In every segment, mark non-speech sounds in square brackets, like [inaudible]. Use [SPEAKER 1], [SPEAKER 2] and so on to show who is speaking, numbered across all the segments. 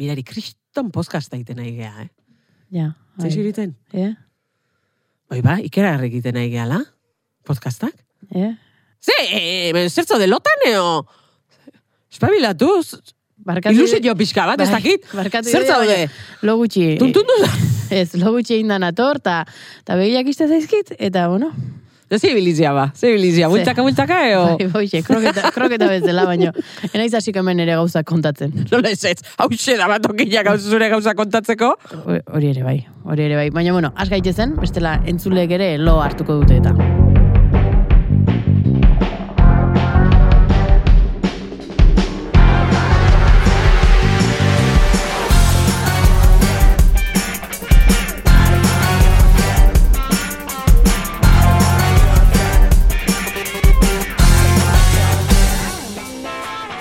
[SPEAKER 1] Mirari, kriston podcast egiten nahi geha, eh?
[SPEAKER 2] Ja.
[SPEAKER 1] Zer ziriten?
[SPEAKER 2] E?
[SPEAKER 1] Bai, ba, ikera egiten nahi gehala, podcastak.
[SPEAKER 2] E?
[SPEAKER 1] Ze, e, e, zertzo delotan, eo? Espabilatu, z-
[SPEAKER 2] Barkatu.
[SPEAKER 1] ilusio pixka bat, ez
[SPEAKER 2] Bai,
[SPEAKER 1] dakit.
[SPEAKER 2] barkatu
[SPEAKER 1] Zer
[SPEAKER 2] ideia,
[SPEAKER 1] zaude?
[SPEAKER 2] baina Lo gutxi.
[SPEAKER 1] Tuntundu,
[SPEAKER 2] Ez, lo gutxi egin da nator, eta ta begiak izte zaizkit, eta bueno.
[SPEAKER 1] ez zibilizia ba, zibilizia, bultaka, bultaka, eo?
[SPEAKER 2] Bai, boixe, kroketa, kroketa bezala, baino. Enaiz hasik hemen ere gauzak kontatzen.
[SPEAKER 1] Nola ez ez, hau da bat okila gauza zure gauza kontatzeko.
[SPEAKER 2] Ho- Hori ere bai, hori ere bai. Baina, bueno, has gaitezen, bestela entzulek ere lo hartuko dute eta.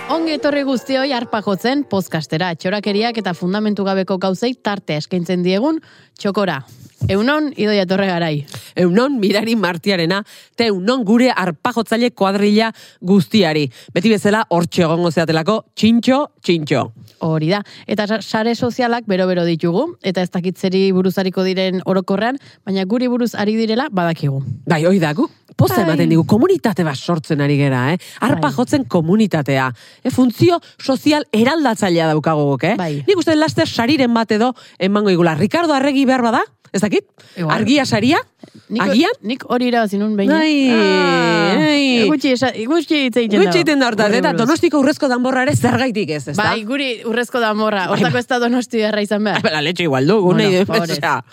[SPEAKER 2] Ongi etorri guztioi arpa jotzen pozkastera, txorakeriak eta fundamentu gabeko gauzei tartea eskaintzen diegun txokora. Eunon, idoia torre garai.
[SPEAKER 1] Eunon mirari martiarena, te eunon gure arpajotzaile kuadrilla guztiari. Beti bezala hortxe egongo zeatelako, txintxo, txintxo.
[SPEAKER 2] Hori da. Eta sa- sare sozialak bero-bero ditugu, eta ez dakitzeri buruzariko diren orokorrean, baina guri buruz ari direla badakigu.
[SPEAKER 1] Bai, hoi da, gu, poza
[SPEAKER 2] Bai.
[SPEAKER 1] ematen digu, komunitate bat sortzen ari gera, eh? Arpa
[SPEAKER 2] Bai.
[SPEAKER 1] jotzen komunitatea. E, funtzio sozial eraldatzailea daukagok, eh?
[SPEAKER 2] Bai.
[SPEAKER 1] Nik uste laster sariren bat edo emango igula. Ricardo Arregi behar bada, ez dakit?
[SPEAKER 2] Igual.
[SPEAKER 1] Argia saria? Agian?
[SPEAKER 2] Nik hori irabazi nun behin. Ah, eh,
[SPEAKER 1] Ai, ai.
[SPEAKER 2] Gutxi, esa, gutxi hitz egiten
[SPEAKER 1] Gutxe egiten da hortaz,
[SPEAKER 2] Horri
[SPEAKER 1] eta
[SPEAKER 2] buruz.
[SPEAKER 1] donostiko urrezko danborra ere zergaitik ez, ez da? [laughs] Bai.
[SPEAKER 2] Bai, guri urrezko da morra. Hortako ez da donosti beharra izan behar.
[SPEAKER 1] La leche igual du, gune
[SPEAKER 2] Bueno,
[SPEAKER 1] bueno,
[SPEAKER 2] pobrez.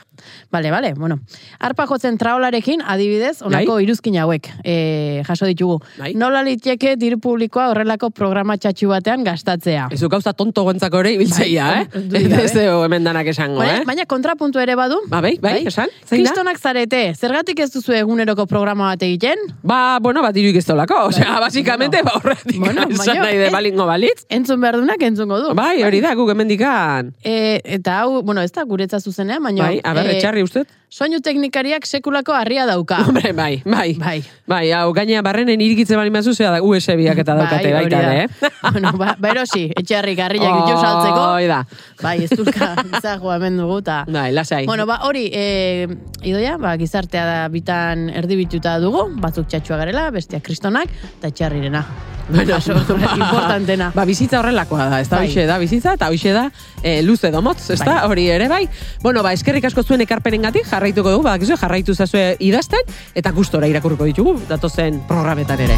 [SPEAKER 2] Bale, bale, bueno. Arpa jotzen traolarekin, adibidez, honako iruzkin hauek e, jaso ditugu.
[SPEAKER 1] Bai.
[SPEAKER 2] Nola liteke diru publikoa horrelako programa txatxu batean gastatzea.
[SPEAKER 1] Ez du gauza tonto guentzako ere ibiltzeia,
[SPEAKER 2] Bai,
[SPEAKER 1] eh?
[SPEAKER 2] dudik gabe.
[SPEAKER 1] Ez du hemen danak esango,
[SPEAKER 2] Baina,
[SPEAKER 1] eh?
[SPEAKER 2] baina kontrapuntu ere badu.
[SPEAKER 1] Ba, bai, bai, esan, zein da?
[SPEAKER 2] Kristonak zarete, zergatik ez duzu eguneroko programa bat egiten?
[SPEAKER 1] Ba, bueno, bat diruik ez dolako. Osea, basikamente, ba, horretik
[SPEAKER 2] Bai. Bueno,
[SPEAKER 1] esan
[SPEAKER 2] baina,
[SPEAKER 1] nahi de
[SPEAKER 2] eh,
[SPEAKER 1] balingo balitz.
[SPEAKER 2] Entzun behar dunak entzungo du.
[SPEAKER 1] Bai, hori da, guk hemendikan.
[SPEAKER 2] E, eta hau, bueno, ez da guretza zuzenean, baina...
[SPEAKER 1] Bai, a ber,
[SPEAKER 2] eh,
[SPEAKER 1] etxarri uste?
[SPEAKER 2] [laughs] Soinu teknikariak sekulako harria dauka.
[SPEAKER 1] Hombre, bai, bai.
[SPEAKER 2] Bai.
[SPEAKER 1] Bai, hau gainea barrenen irikitze bali mazu, zera da USB-ak eta daukate
[SPEAKER 2] Bai, hori
[SPEAKER 1] baita,
[SPEAKER 2] da.
[SPEAKER 1] ere, eh?
[SPEAKER 2] [laughs] bueno, ba, ba erosi, etxearrik
[SPEAKER 1] [laughs]
[SPEAKER 2] harriak oh, saltzeko.
[SPEAKER 1] Hoi da.
[SPEAKER 2] Bai, ez duzka gizagoa hemen dugu, eta...
[SPEAKER 1] Bai, lasai.
[SPEAKER 2] Bueno, ba, hori, e, idoia, ba, gizartea da bitan erdibituta dugu, batzuk txatxua garela, bestiak kristonak, eta etxarrirena.
[SPEAKER 1] Bueno,
[SPEAKER 2] Kaso,
[SPEAKER 1] [laughs]
[SPEAKER 2] importantena.
[SPEAKER 1] Ba, bizitza horrelakoa da, ez da,
[SPEAKER 2] Bai.
[SPEAKER 1] hoxe da bizitza, eta hoxe da e, luze domotz, ez da, hori ere bai. Bueno, ba, eskerrik asko zuen ekarpenengatik jarraituko dugu, ba, gizu, jarraitu zazue idazten, eta gustora irakurriko ditugu, datozen programetan ere.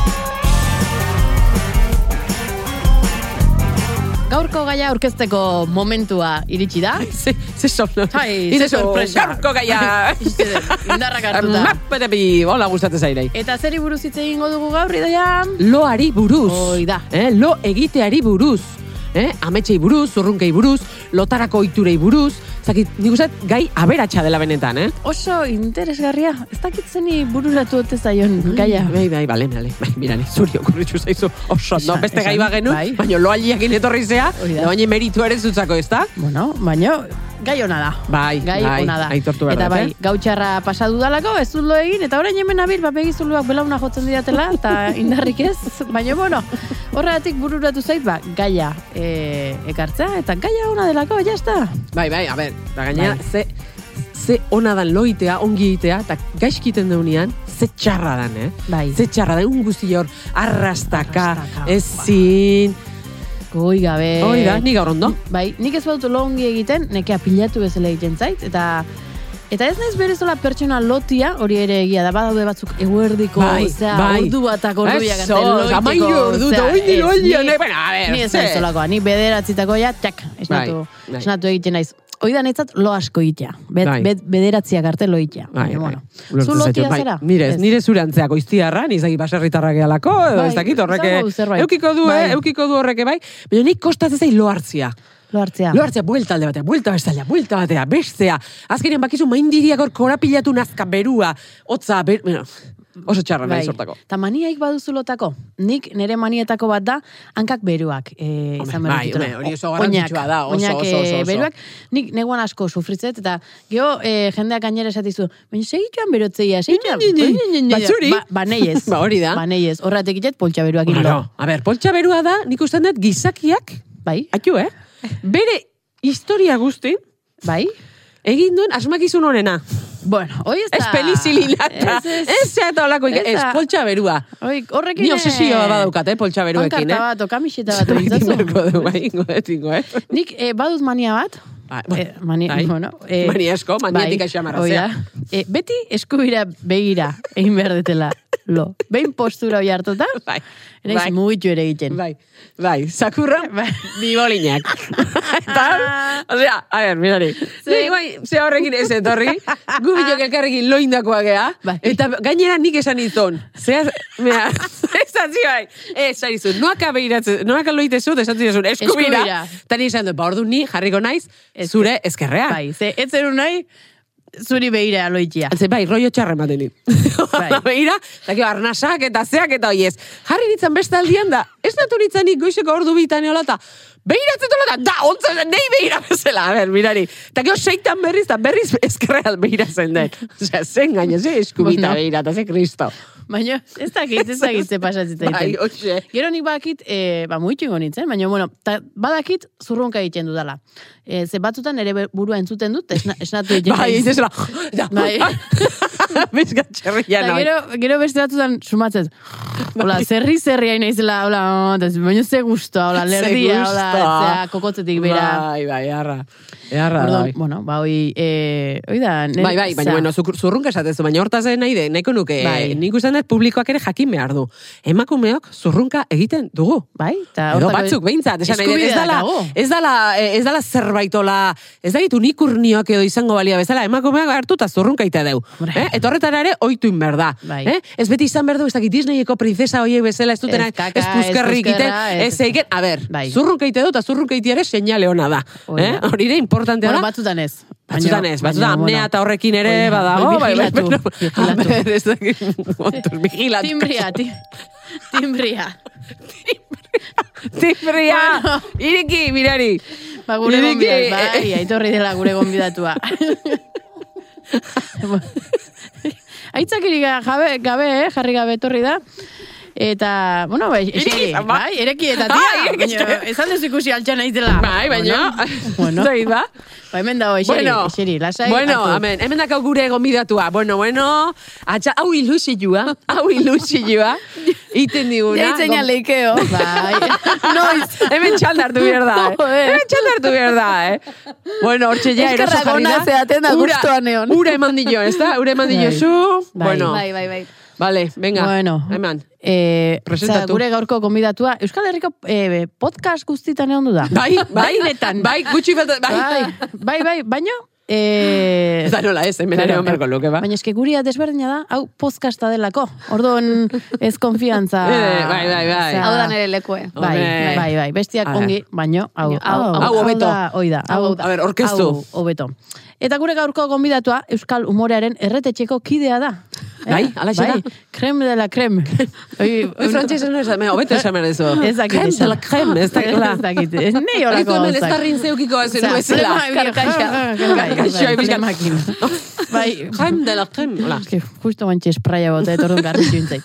[SPEAKER 2] Gaurko gaia aurkezteko momentua iritsi da.
[SPEAKER 1] Ze, ze sono.
[SPEAKER 2] Ai, ze
[SPEAKER 1] Ireso,
[SPEAKER 2] sorpresa.
[SPEAKER 1] Gaurko gaia.
[SPEAKER 2] Ixte, Indarrak hartuta.
[SPEAKER 1] Mapetepi, hola gustatzen zairei.
[SPEAKER 2] Eta zeri buruz hitz egingo dugu gaur, idoia?
[SPEAKER 1] Loari buruz.
[SPEAKER 2] Hoi da.
[SPEAKER 1] Eh, lo egiteari buruz. Eh, ametsei buruz, zurrunkei buruz, lotarako ohiturei buruz. Zakit, nik uste, dut gai aberatsa dela benetan, eh?
[SPEAKER 2] Oso interesgarria, ez dakitzeni bururatu ote zaion gaia.
[SPEAKER 1] Bai, bai, bale, bale. Bai, mira, ni zuri okurritxu zaizu. Oso, Oh, no,
[SPEAKER 2] Esan-
[SPEAKER 1] beste gai
[SPEAKER 2] esan,
[SPEAKER 1] bagenu,
[SPEAKER 2] bai.
[SPEAKER 1] baina loaliak inetorri zea,
[SPEAKER 2] Hori da.
[SPEAKER 1] da baina meritu ere zutzako, ez da?
[SPEAKER 2] Bueno, baino, gai ona da.
[SPEAKER 1] Bai,
[SPEAKER 2] gai
[SPEAKER 1] bai,
[SPEAKER 2] ona da.
[SPEAKER 1] aitortu behar
[SPEAKER 2] eta
[SPEAKER 1] dut,
[SPEAKER 2] bai,
[SPEAKER 1] eh?
[SPEAKER 2] gautxarra pasatu dalako, ez dut lo egin, eta orain hemen abil, ba begizuluak belauna jotzen didatela,
[SPEAKER 1] [laughs]
[SPEAKER 2] eta indarrik ez, baina bueno, horregatik bururatu zait, ba, gaia e, ekartzea, eta gaia ona delako, jazta.
[SPEAKER 1] Bai, bai, a ber, da gaina,
[SPEAKER 2] Bai.
[SPEAKER 1] ze, ze ona dan loitea, ongi egitea, eta gaizkiten deunean, ze txarra dan, eh?
[SPEAKER 2] Bai.
[SPEAKER 1] Ze txarra dan, un guzti hor, arrastaka,
[SPEAKER 2] Arrastaka, Ba. Eh,
[SPEAKER 1] ezin,
[SPEAKER 2] Goi gabe.
[SPEAKER 1] hori da, ni gaur ondo.
[SPEAKER 2] Bai, nik ez badut lo ongi egiten, nekea pilatu bezala egiten zait, eta Eta ez naiz berezola pertsona lotia, hori ere egia da, badaude batzuk eguerdiko,
[SPEAKER 1] Bai,
[SPEAKER 2] osea,
[SPEAKER 1] bai.
[SPEAKER 2] ordu batak orduiak
[SPEAKER 1] Eso, amairu ordu, eta oin dilo helio, ne, bueno, a ber,
[SPEAKER 2] Ni ez
[SPEAKER 1] ze.
[SPEAKER 2] naiz zolakoa, ni bederatzitako ja, txak, esnatu,
[SPEAKER 1] Bai, bai.
[SPEAKER 2] esnatu egiten naiz. Hoi da netzat lo asko egitea, bet,
[SPEAKER 1] Bai.
[SPEAKER 2] bet, bederatziak arte lo egitea. Baina, bueno, zu
[SPEAKER 1] Ulertzen zaitut,
[SPEAKER 2] lotia
[SPEAKER 1] bai,
[SPEAKER 2] zera?
[SPEAKER 1] Nire, ez,
[SPEAKER 2] Ez.
[SPEAKER 1] nire zure antzeako iztiarra, nizaki baserritarra gehalako, edo
[SPEAKER 2] Bai,
[SPEAKER 1] ez dakit horreke,
[SPEAKER 2] esango du zerbait.
[SPEAKER 1] eukiko du,
[SPEAKER 2] Bai.
[SPEAKER 1] eh, eukiko du horreke bai, baina nik kostatzen zai lo hartzia.
[SPEAKER 2] Lo hartzea.
[SPEAKER 1] Lo hartzea, buelta alde batea, buelta bestalea, buelta batea, bestea. Azkenean bakizu maindiriak hor korapilatu nazka berua, hotza, ber... bueno, oso txarra Ba,
[SPEAKER 2] Bai.
[SPEAKER 1] nahi sortako.
[SPEAKER 2] Ta maniaik baduzu lotako. Nik nire manietako bat da hankak beruak. E,
[SPEAKER 1] Hombre,
[SPEAKER 2] izan behar
[SPEAKER 1] bai,
[SPEAKER 2] ditutela.
[SPEAKER 1] hombre, hori oso
[SPEAKER 2] O-
[SPEAKER 1] garrantzitsua
[SPEAKER 2] oinak,
[SPEAKER 1] da, oso,
[SPEAKER 2] oinak,
[SPEAKER 1] oso, oso,
[SPEAKER 2] eh,
[SPEAKER 1] oso.
[SPEAKER 2] Beruak, nik neguan asko sufritzet, eta geho e, jendeak gainera esatizu, baina segituan berotzeia, segituan.
[SPEAKER 1] Ni, ni, ni, ni, ni, ni. Batzuri.
[SPEAKER 2] Ba, [laughs] ba neiez.
[SPEAKER 1] mm, Ba, hori da.
[SPEAKER 2] Ba neiez. Horratek itet poltsa beruak
[SPEAKER 1] Bueno,
[SPEAKER 2] hildo. [laughs]
[SPEAKER 1] a ber, poltsa berua da, nik ustean dut gizakiak,
[SPEAKER 2] Bai?
[SPEAKER 1] atxu, eh? Bere historia guzti,
[SPEAKER 2] Bai?
[SPEAKER 1] egin duen asmakizun honena.
[SPEAKER 2] Bueno, hoi ez da...
[SPEAKER 1] Ez pelizilinata,
[SPEAKER 2] Ez,
[SPEAKER 1] ez
[SPEAKER 2] ez.
[SPEAKER 1] zeta olako,
[SPEAKER 2] Ez
[SPEAKER 1] ez
[SPEAKER 2] da.
[SPEAKER 1] poltsa berua.
[SPEAKER 2] Hoi, horrekin...
[SPEAKER 1] Ni
[SPEAKER 2] eh,
[SPEAKER 1] obsesioa badaukat, eh, poltsa beruekin,
[SPEAKER 2] Pankarta
[SPEAKER 1] eh?
[SPEAKER 2] bat, o kamiseta
[SPEAKER 1] [laughs]
[SPEAKER 2] bat egin
[SPEAKER 1] Egin
[SPEAKER 2] zazu.
[SPEAKER 1] beharko du, bai, ingo, dut, ingo, eh?
[SPEAKER 2] Nik eh, baduz mania bat.
[SPEAKER 1] Ba, ba,
[SPEAKER 2] Eh, mani,
[SPEAKER 1] bai.
[SPEAKER 2] bueno, eh,
[SPEAKER 1] [laughs] Mania asko, maniatik
[SPEAKER 2] bai,
[SPEAKER 1] axamarrazea.
[SPEAKER 2] hoi da. Eh, beti eskubira begira egin behar detela. Lo. Behin postura hoi hartuta,
[SPEAKER 1] [laughs] Bai,
[SPEAKER 2] naiz
[SPEAKER 1] bai.
[SPEAKER 2] mugitu ere egiten.
[SPEAKER 1] Bai, bai, zakurra,
[SPEAKER 2] [laughs] Bai. [laughs]
[SPEAKER 1] bibolinak. Eta, osea, a ber, mirari. Nik bai, ze horrekin ez etorri,
[SPEAKER 2] [laughs]
[SPEAKER 1] gu bilok elkarrekin loindakoa gea,
[SPEAKER 2] Bai.
[SPEAKER 1] eta gainera nik esan izon. Zea,
[SPEAKER 2] [laughs]
[SPEAKER 1] mea, ez atzi bai, ez arizu, noaka behiratzen, noaka loitezu, ez atzi zuen, eskubira.
[SPEAKER 2] Eskubira.
[SPEAKER 1] Eta ni esan dut, ba, ordu ni jarriko naiz,
[SPEAKER 2] Ez-
[SPEAKER 1] zure ezkerrean.
[SPEAKER 2] Bai, ze, ez zerun nahi, zuri begira aloitia.
[SPEAKER 1] Ze bai, rollo txarra ematen dit.
[SPEAKER 2] Bai.
[SPEAKER 1] [laughs] Begira, eta gero arnasak eta zeak eta oiez. Jarri nintzen beste aldian da, ez natu nintzenik goizeko ordu bitan eola eta behiratzen dola eta da, ontzen da, nahi behira bezala, a ber, mirari. Eta gero seitan berriz, eta berriz ezkerrean behiratzen den. Osea, zen gaine, ze eskubita
[SPEAKER 2] Bueno.
[SPEAKER 1] behira, eta ze kristo.
[SPEAKER 2] Baina, ez dakit, ez dakit ze pasatzita
[SPEAKER 1] Bai,
[SPEAKER 2] egiten.
[SPEAKER 1] hoxe.
[SPEAKER 2] Gero nik badakit, e, ba, mugitu ingo nintzen, baina, bueno, ta, badakit zurrunka egiten dudala. E, ze batzutan ere burua entzuten dut, esna, esnatu egiten.
[SPEAKER 1] Bai,
[SPEAKER 2] naiz.
[SPEAKER 1] ez zela. Ja. [laughs]
[SPEAKER 2] Bai.
[SPEAKER 1] Bizka txerrian
[SPEAKER 2] Eta
[SPEAKER 1] hori.
[SPEAKER 2] gero, gero beste batzutan sumatzen. Hola,
[SPEAKER 1] Bai.
[SPEAKER 2] zerri zerri hain naizela, hola, eta ez- baina ze gustoa, hola,
[SPEAKER 1] Ze
[SPEAKER 2] lerdia, hola,
[SPEAKER 1] gustoa.
[SPEAKER 2] zea, kokotzetik bera.
[SPEAKER 1] Bai, bai, arra. Arra,
[SPEAKER 2] Orduan,
[SPEAKER 1] bai.
[SPEAKER 2] bueno, ba, hoi, e, hoi da, nire,
[SPEAKER 1] Bai, bai, baina bueno, zukur- zurrunka esatezu, baina hortaz ere nahi de, nahiko nuke.
[SPEAKER 2] Bai.
[SPEAKER 1] Nik uste dut publikoak ere jakin behar du. Emakumeok zurrunka egiten dugu.
[SPEAKER 2] Bai, eta
[SPEAKER 1] Edo
[SPEAKER 2] hortako-
[SPEAKER 1] batzuk behintzat, esan nahi, dut, ez
[SPEAKER 2] Eskubidea
[SPEAKER 1] dala,
[SPEAKER 2] dago.
[SPEAKER 1] ez dala, eh, ez dala zerbaitola, ez dakit unikurniok edo izango balia bezala, emakumeak hartu eta zurrunka ite deu.
[SPEAKER 2] Hombre.
[SPEAKER 1] Eh? Eta horretara ere oitu inber da.
[SPEAKER 2] Bai.
[SPEAKER 1] Eh? Ez beti izan behar du, ez dakit Disneyeko princesa hoiek bezala ez dutena,
[SPEAKER 2] Ez
[SPEAKER 1] ez,
[SPEAKER 2] kaka, ez
[SPEAKER 1] puzkerri egiten,
[SPEAKER 2] puzkerra, ez-
[SPEAKER 1] ez egiten, a ber,
[SPEAKER 2] Bai.
[SPEAKER 1] zurrunka ite dut eta zurrunka ite ere seinale hona da.
[SPEAKER 2] Hori da.
[SPEAKER 1] Eh? Hori ere importantea da.
[SPEAKER 2] Bueno, batzutan ez.
[SPEAKER 1] Batzutan
[SPEAKER 2] Baina-
[SPEAKER 1] ez, batzutan
[SPEAKER 2] baina,
[SPEAKER 1] apnea
[SPEAKER 2] bueno,
[SPEAKER 1] eta horrekin ere
[SPEAKER 2] hori da.
[SPEAKER 1] badago.
[SPEAKER 2] Hoi,
[SPEAKER 1] bai, bai,
[SPEAKER 2] Vigilatu,
[SPEAKER 1] pero-
[SPEAKER 2] vigilatu.
[SPEAKER 1] A ber, [laughs] ez dakit, kontuz, vigilatu.
[SPEAKER 2] Timbria,
[SPEAKER 1] [laughs]
[SPEAKER 2] ti- timbria.
[SPEAKER 1] Timbria!
[SPEAKER 2] Bueno.
[SPEAKER 1] Iriki, mirari.
[SPEAKER 2] Ba, gure
[SPEAKER 1] Iriki,
[SPEAKER 2] gonbidat, bai,
[SPEAKER 1] eh,
[SPEAKER 2] aitorri dela gure
[SPEAKER 1] [laughs]
[SPEAKER 2] gonbidatua. Aitzakiri ga- gabe, gabe, eh, jarri gabe etorri da. Eta, bueno, bai, eseri,
[SPEAKER 1] izan, ba.
[SPEAKER 2] bai, ereki
[SPEAKER 1] [laughs]
[SPEAKER 2] eta
[SPEAKER 1] Ah,
[SPEAKER 2] tira,
[SPEAKER 1] ireki,
[SPEAKER 2] baina,
[SPEAKER 1] eseri.
[SPEAKER 2] esan duzu ikusi altxan aizela.
[SPEAKER 1] Bai, baina.
[SPEAKER 2] Ah, Bueno,
[SPEAKER 1] [laughs]
[SPEAKER 2] bueno.
[SPEAKER 1] Zait, ba?
[SPEAKER 2] ba, hemen dago, eseri,
[SPEAKER 1] Bueno,
[SPEAKER 2] eseri, lasai.
[SPEAKER 1] bueno,
[SPEAKER 2] hartu.
[SPEAKER 1] amen, hemen dakau gure gomidatua. Bueno, bueno, atxa, hau ilusioa, hau
[SPEAKER 2] [laughs]
[SPEAKER 1] ilusioa, iten diguna.
[SPEAKER 2] Deitzen ja leikeo. [laughs]
[SPEAKER 1] [laughs]
[SPEAKER 2] Bai, noiz.
[SPEAKER 1] Hemen txalda hartu behar da, eh?
[SPEAKER 2] [laughs] Joder.
[SPEAKER 1] Hemen txalda hartu behar da, eh? Bueno, hortxe ja, eroso
[SPEAKER 2] Eskerrak
[SPEAKER 1] jarri da.
[SPEAKER 2] ona zeaten da
[SPEAKER 1] Ura-
[SPEAKER 2] gustuan egon.
[SPEAKER 1] Ura eman dio, ez da? Ura eman dio
[SPEAKER 2] Bai.
[SPEAKER 1] zu.
[SPEAKER 2] Bai.
[SPEAKER 1] Bueno,
[SPEAKER 3] Bai, bai, bai.
[SPEAKER 1] vale, venga,
[SPEAKER 2] Bueno,
[SPEAKER 1] eman.
[SPEAKER 2] eh,
[SPEAKER 1] Presentatu.
[SPEAKER 2] za, gure gaurko konbidatua Euskal Herriko eh, podcast guztitan egon du da.
[SPEAKER 1] Bai, bai,
[SPEAKER 2] Denetan.
[SPEAKER 1] bai, gutxi bat, bai.
[SPEAKER 2] bai, bai, bai, baino...
[SPEAKER 1] [laughs]
[SPEAKER 2] Eh,
[SPEAKER 1] Ez da nola ez, hemen ere
[SPEAKER 2] Claro,
[SPEAKER 1] egon beharko luke, ba.
[SPEAKER 2] Baina eske guria desberdina da, hau podcasta delako. Orduan ez konfiantza.
[SPEAKER 1] [laughs] Eh, bai, bai, bai.
[SPEAKER 2] Zea,
[SPEAKER 3] Hau da nere lekue.
[SPEAKER 2] Bai,
[SPEAKER 1] Hombre.
[SPEAKER 2] bai, bai, bestiak
[SPEAKER 1] Ara.
[SPEAKER 2] ongi, baino, hau,
[SPEAKER 3] Baina, hau, hau,
[SPEAKER 1] hau hobeto.
[SPEAKER 2] da, Hoi da,
[SPEAKER 3] Hau,
[SPEAKER 2] hau,
[SPEAKER 3] hau da.
[SPEAKER 1] A ber, orkestu.
[SPEAKER 2] hau hobeto. Eta gure gaurko gonbidatua Euskal Umorearen erretetxeko kidea da.
[SPEAKER 1] Bai, alaxe da.
[SPEAKER 2] Krem de la krem.
[SPEAKER 1] [laughs]
[SPEAKER 2] Oi,
[SPEAKER 1] Oi, frantzesa no esan, baina, hobeto esan behar dezu.
[SPEAKER 2] [laughs] Ez dakit
[SPEAKER 1] Creme de
[SPEAKER 2] esan.
[SPEAKER 1] la creme, ez dakit.
[SPEAKER 2] Ez dakit, ez nahi
[SPEAKER 1] Hori
[SPEAKER 2] horako
[SPEAKER 1] hemen ez
[SPEAKER 2] gauzak.
[SPEAKER 1] darrin zeukiko ez
[SPEAKER 2] Osea,
[SPEAKER 1] nuezela.
[SPEAKER 2] flema egia,
[SPEAKER 3] Karkaxa.
[SPEAKER 1] [laughs]
[SPEAKER 2] ja, ja, bai,
[SPEAKER 1] Karkaxa
[SPEAKER 2] bai,
[SPEAKER 1] egia.
[SPEAKER 2] flemakin.
[SPEAKER 1] [laughs]
[SPEAKER 2] Bai,
[SPEAKER 1] Creme de la creme, hola.
[SPEAKER 2] Eske, justo guantxe espraia bota etorren garritu intzait.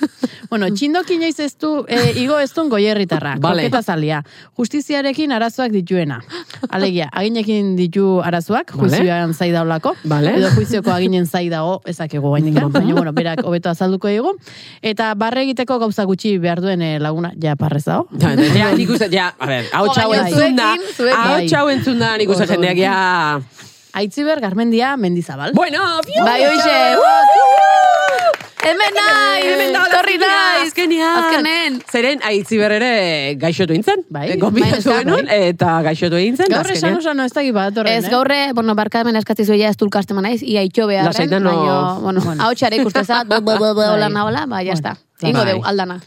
[SPEAKER 2] bueno, txindoki inoiz ez du, eh, igo ez duen goierritarra,
[SPEAKER 1] Vale.
[SPEAKER 2] koketa zalia. Justiziarekin arazoak dituena. Alegia, aginekin ditu arazoak,
[SPEAKER 1] Vale.
[SPEAKER 2] juizioan zai daulako,
[SPEAKER 1] Vale.
[SPEAKER 2] edo juizioko aginen zai dago, ezakego gaindik, baina, bueno, berak hobeto azalduko digu. Eta barre egiteko gauza gutxi behar duen eh, laguna, ja parrez dago.
[SPEAKER 1] Ja, ja, nik uste, ja, a ber, hau
[SPEAKER 3] Jo,
[SPEAKER 1] txau
[SPEAKER 3] baina
[SPEAKER 1] entzun da,
[SPEAKER 3] zuekin, zuekin.
[SPEAKER 1] hau txau entzun da, nik uste
[SPEAKER 2] Orduan.
[SPEAKER 1] jendeak ja...
[SPEAKER 2] Aitziber, Garmendia, Mendizabal.
[SPEAKER 1] Bueno, fiu!
[SPEAKER 3] Bai, hoxe,
[SPEAKER 1] Woo!
[SPEAKER 3] Hemen naiz!
[SPEAKER 1] Hemen dago
[SPEAKER 3] Torri
[SPEAKER 1] azkenia,
[SPEAKER 3] naiz!
[SPEAKER 1] azkenean.
[SPEAKER 3] Azkenen!
[SPEAKER 1] Zeren, aitzi berrere gaixotu intzen.
[SPEAKER 2] Bai.
[SPEAKER 3] Bai,
[SPEAKER 1] Gombidatu
[SPEAKER 3] neska,
[SPEAKER 1] genuen, eta gaixotu egin zen.
[SPEAKER 2] Gaur esan osan ez dakit eh? bat
[SPEAKER 3] Ez
[SPEAKER 1] eh?
[SPEAKER 3] gaurre, bueno, barka hemen eskatzizu ja ez tulkastema naiz, ia itxo beharren,
[SPEAKER 1] Lasaitan, no.
[SPEAKER 3] baina, bueno,
[SPEAKER 2] Bueno.
[SPEAKER 3] hau txare ikustezat, bo, bo, bo, bo,
[SPEAKER 2] Bai.
[SPEAKER 3] hola, na, hola, ba,
[SPEAKER 2] Bueno,
[SPEAKER 3] jazta.
[SPEAKER 2] bai.
[SPEAKER 3] Ingo deu, aldana.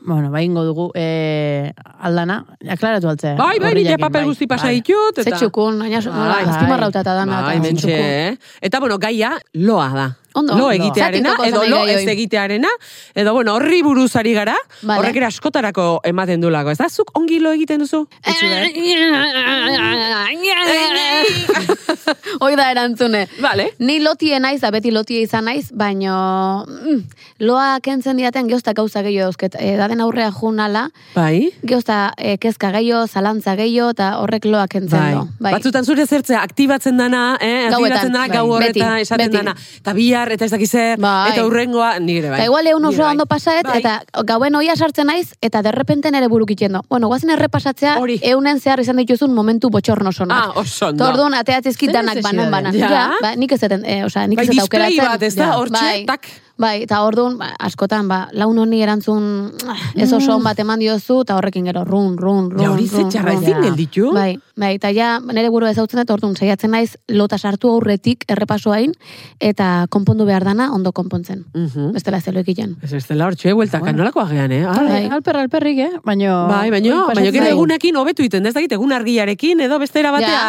[SPEAKER 2] Bueno, ba ingo dugu eh, aldana, aklaratu altzea.
[SPEAKER 1] Bai, bai, nire
[SPEAKER 2] Horrilakin,
[SPEAKER 1] papel
[SPEAKER 2] bai.
[SPEAKER 1] guzti pasa
[SPEAKER 2] Bai.
[SPEAKER 1] ditut.
[SPEAKER 3] Ze
[SPEAKER 1] Eta...
[SPEAKER 3] txukun, baina, hola,
[SPEAKER 1] Bai.
[SPEAKER 3] azpimarrauta eta dana.
[SPEAKER 1] Bai,
[SPEAKER 3] eta
[SPEAKER 1] mentxe,
[SPEAKER 3] txukun.
[SPEAKER 1] eh? Eta, bueno, gaia loa da.
[SPEAKER 3] Ondo.
[SPEAKER 1] lo
[SPEAKER 3] Loa.
[SPEAKER 1] egitearena,
[SPEAKER 3] Zatituko
[SPEAKER 1] edo
[SPEAKER 3] zen
[SPEAKER 1] lo
[SPEAKER 3] nahi gai
[SPEAKER 1] ez
[SPEAKER 3] hoi.
[SPEAKER 1] egitearena, edo, bueno, horri buruz ari gara,
[SPEAKER 3] Vale.
[SPEAKER 1] horrek ere askotarako ematen du Eh, lago, ez da? Zuk ongi lo egiten duzu? Itxi behar.
[SPEAKER 3] [laughs] Hoi da erantzune.
[SPEAKER 1] eh, Vale.
[SPEAKER 3] Ni lotie naiz, da beti lotie izan naiz, baino mm, loa kentzen diaten geozta gauza gehiago eusket. E, daden aurrea junala,
[SPEAKER 1] Bai.
[SPEAKER 3] geozta e, kezka gehiago, zalantza gehiago, eta horrek loa kentzen
[SPEAKER 1] Bai.
[SPEAKER 3] do. Bai.
[SPEAKER 1] Batzutan zure zertzea aktibatzen dana, eh,
[SPEAKER 3] Gauetan,
[SPEAKER 1] aktibatzen dana,
[SPEAKER 3] bai.
[SPEAKER 1] gau horretan
[SPEAKER 3] Beti,
[SPEAKER 1] esaten
[SPEAKER 3] beti.
[SPEAKER 1] dana. Eta bihar, eta ez dakiz zer,
[SPEAKER 3] Bai.
[SPEAKER 1] eta urrengoa, nire bai.
[SPEAKER 3] Eta igual egun
[SPEAKER 1] Ni
[SPEAKER 3] oso
[SPEAKER 1] bai.
[SPEAKER 3] ondo pasaet,
[SPEAKER 1] Bai.
[SPEAKER 3] eta gauen oia sartzen naiz, eta derrepenten ere buruk itxendo. Bueno, guazen errepasatzea,
[SPEAKER 1] Hori.
[SPEAKER 3] eunen zehar izan dituzun momentu botxorno sonak.
[SPEAKER 1] Ah, oso ondo.
[SPEAKER 3] Ta orduan ateatzizkit
[SPEAKER 2] Zer
[SPEAKER 3] danak
[SPEAKER 2] necesidade?
[SPEAKER 3] banan banan.
[SPEAKER 1] Ja.
[SPEAKER 3] Ja, ba, nik ez eten, e, osea, nik
[SPEAKER 1] Bai,
[SPEAKER 3] ez eta
[SPEAKER 1] display
[SPEAKER 3] aukeratzen.
[SPEAKER 1] bat, ez da,
[SPEAKER 3] Ja.
[SPEAKER 1] hortxe, tak.
[SPEAKER 3] Bai, eta orduan, ba, askotan, ba, laun honi erantzun ah, ez oso on bat eman diozu, eta horrekin gero, run, run, run,
[SPEAKER 1] Ja, hori ze
[SPEAKER 3] run,
[SPEAKER 1] txarra
[SPEAKER 3] run.
[SPEAKER 1] ezin
[SPEAKER 2] Ja.
[SPEAKER 1] gelditu.
[SPEAKER 3] Bai, bai, eta ja, nire burua ezautzen dut, orduan, saiatzen naiz, lota sartu aurretik errepasoain, eta konpondu behar dana, ondo konpontzen.
[SPEAKER 1] Mhm.
[SPEAKER 3] Bestela ez zelo egiten.
[SPEAKER 1] Ez ez dela hortxe, bueltaka, bueno. nolako agean, eh? Ala.
[SPEAKER 3] Bai.
[SPEAKER 2] Alper, alperrik, eh? Baina...
[SPEAKER 1] Bai, baino,
[SPEAKER 2] hori
[SPEAKER 1] baino
[SPEAKER 2] pasatzen
[SPEAKER 1] gero
[SPEAKER 2] zaigu.
[SPEAKER 1] egunekin hobetu iten, ez dakit egun argiarekin edo beste era batea.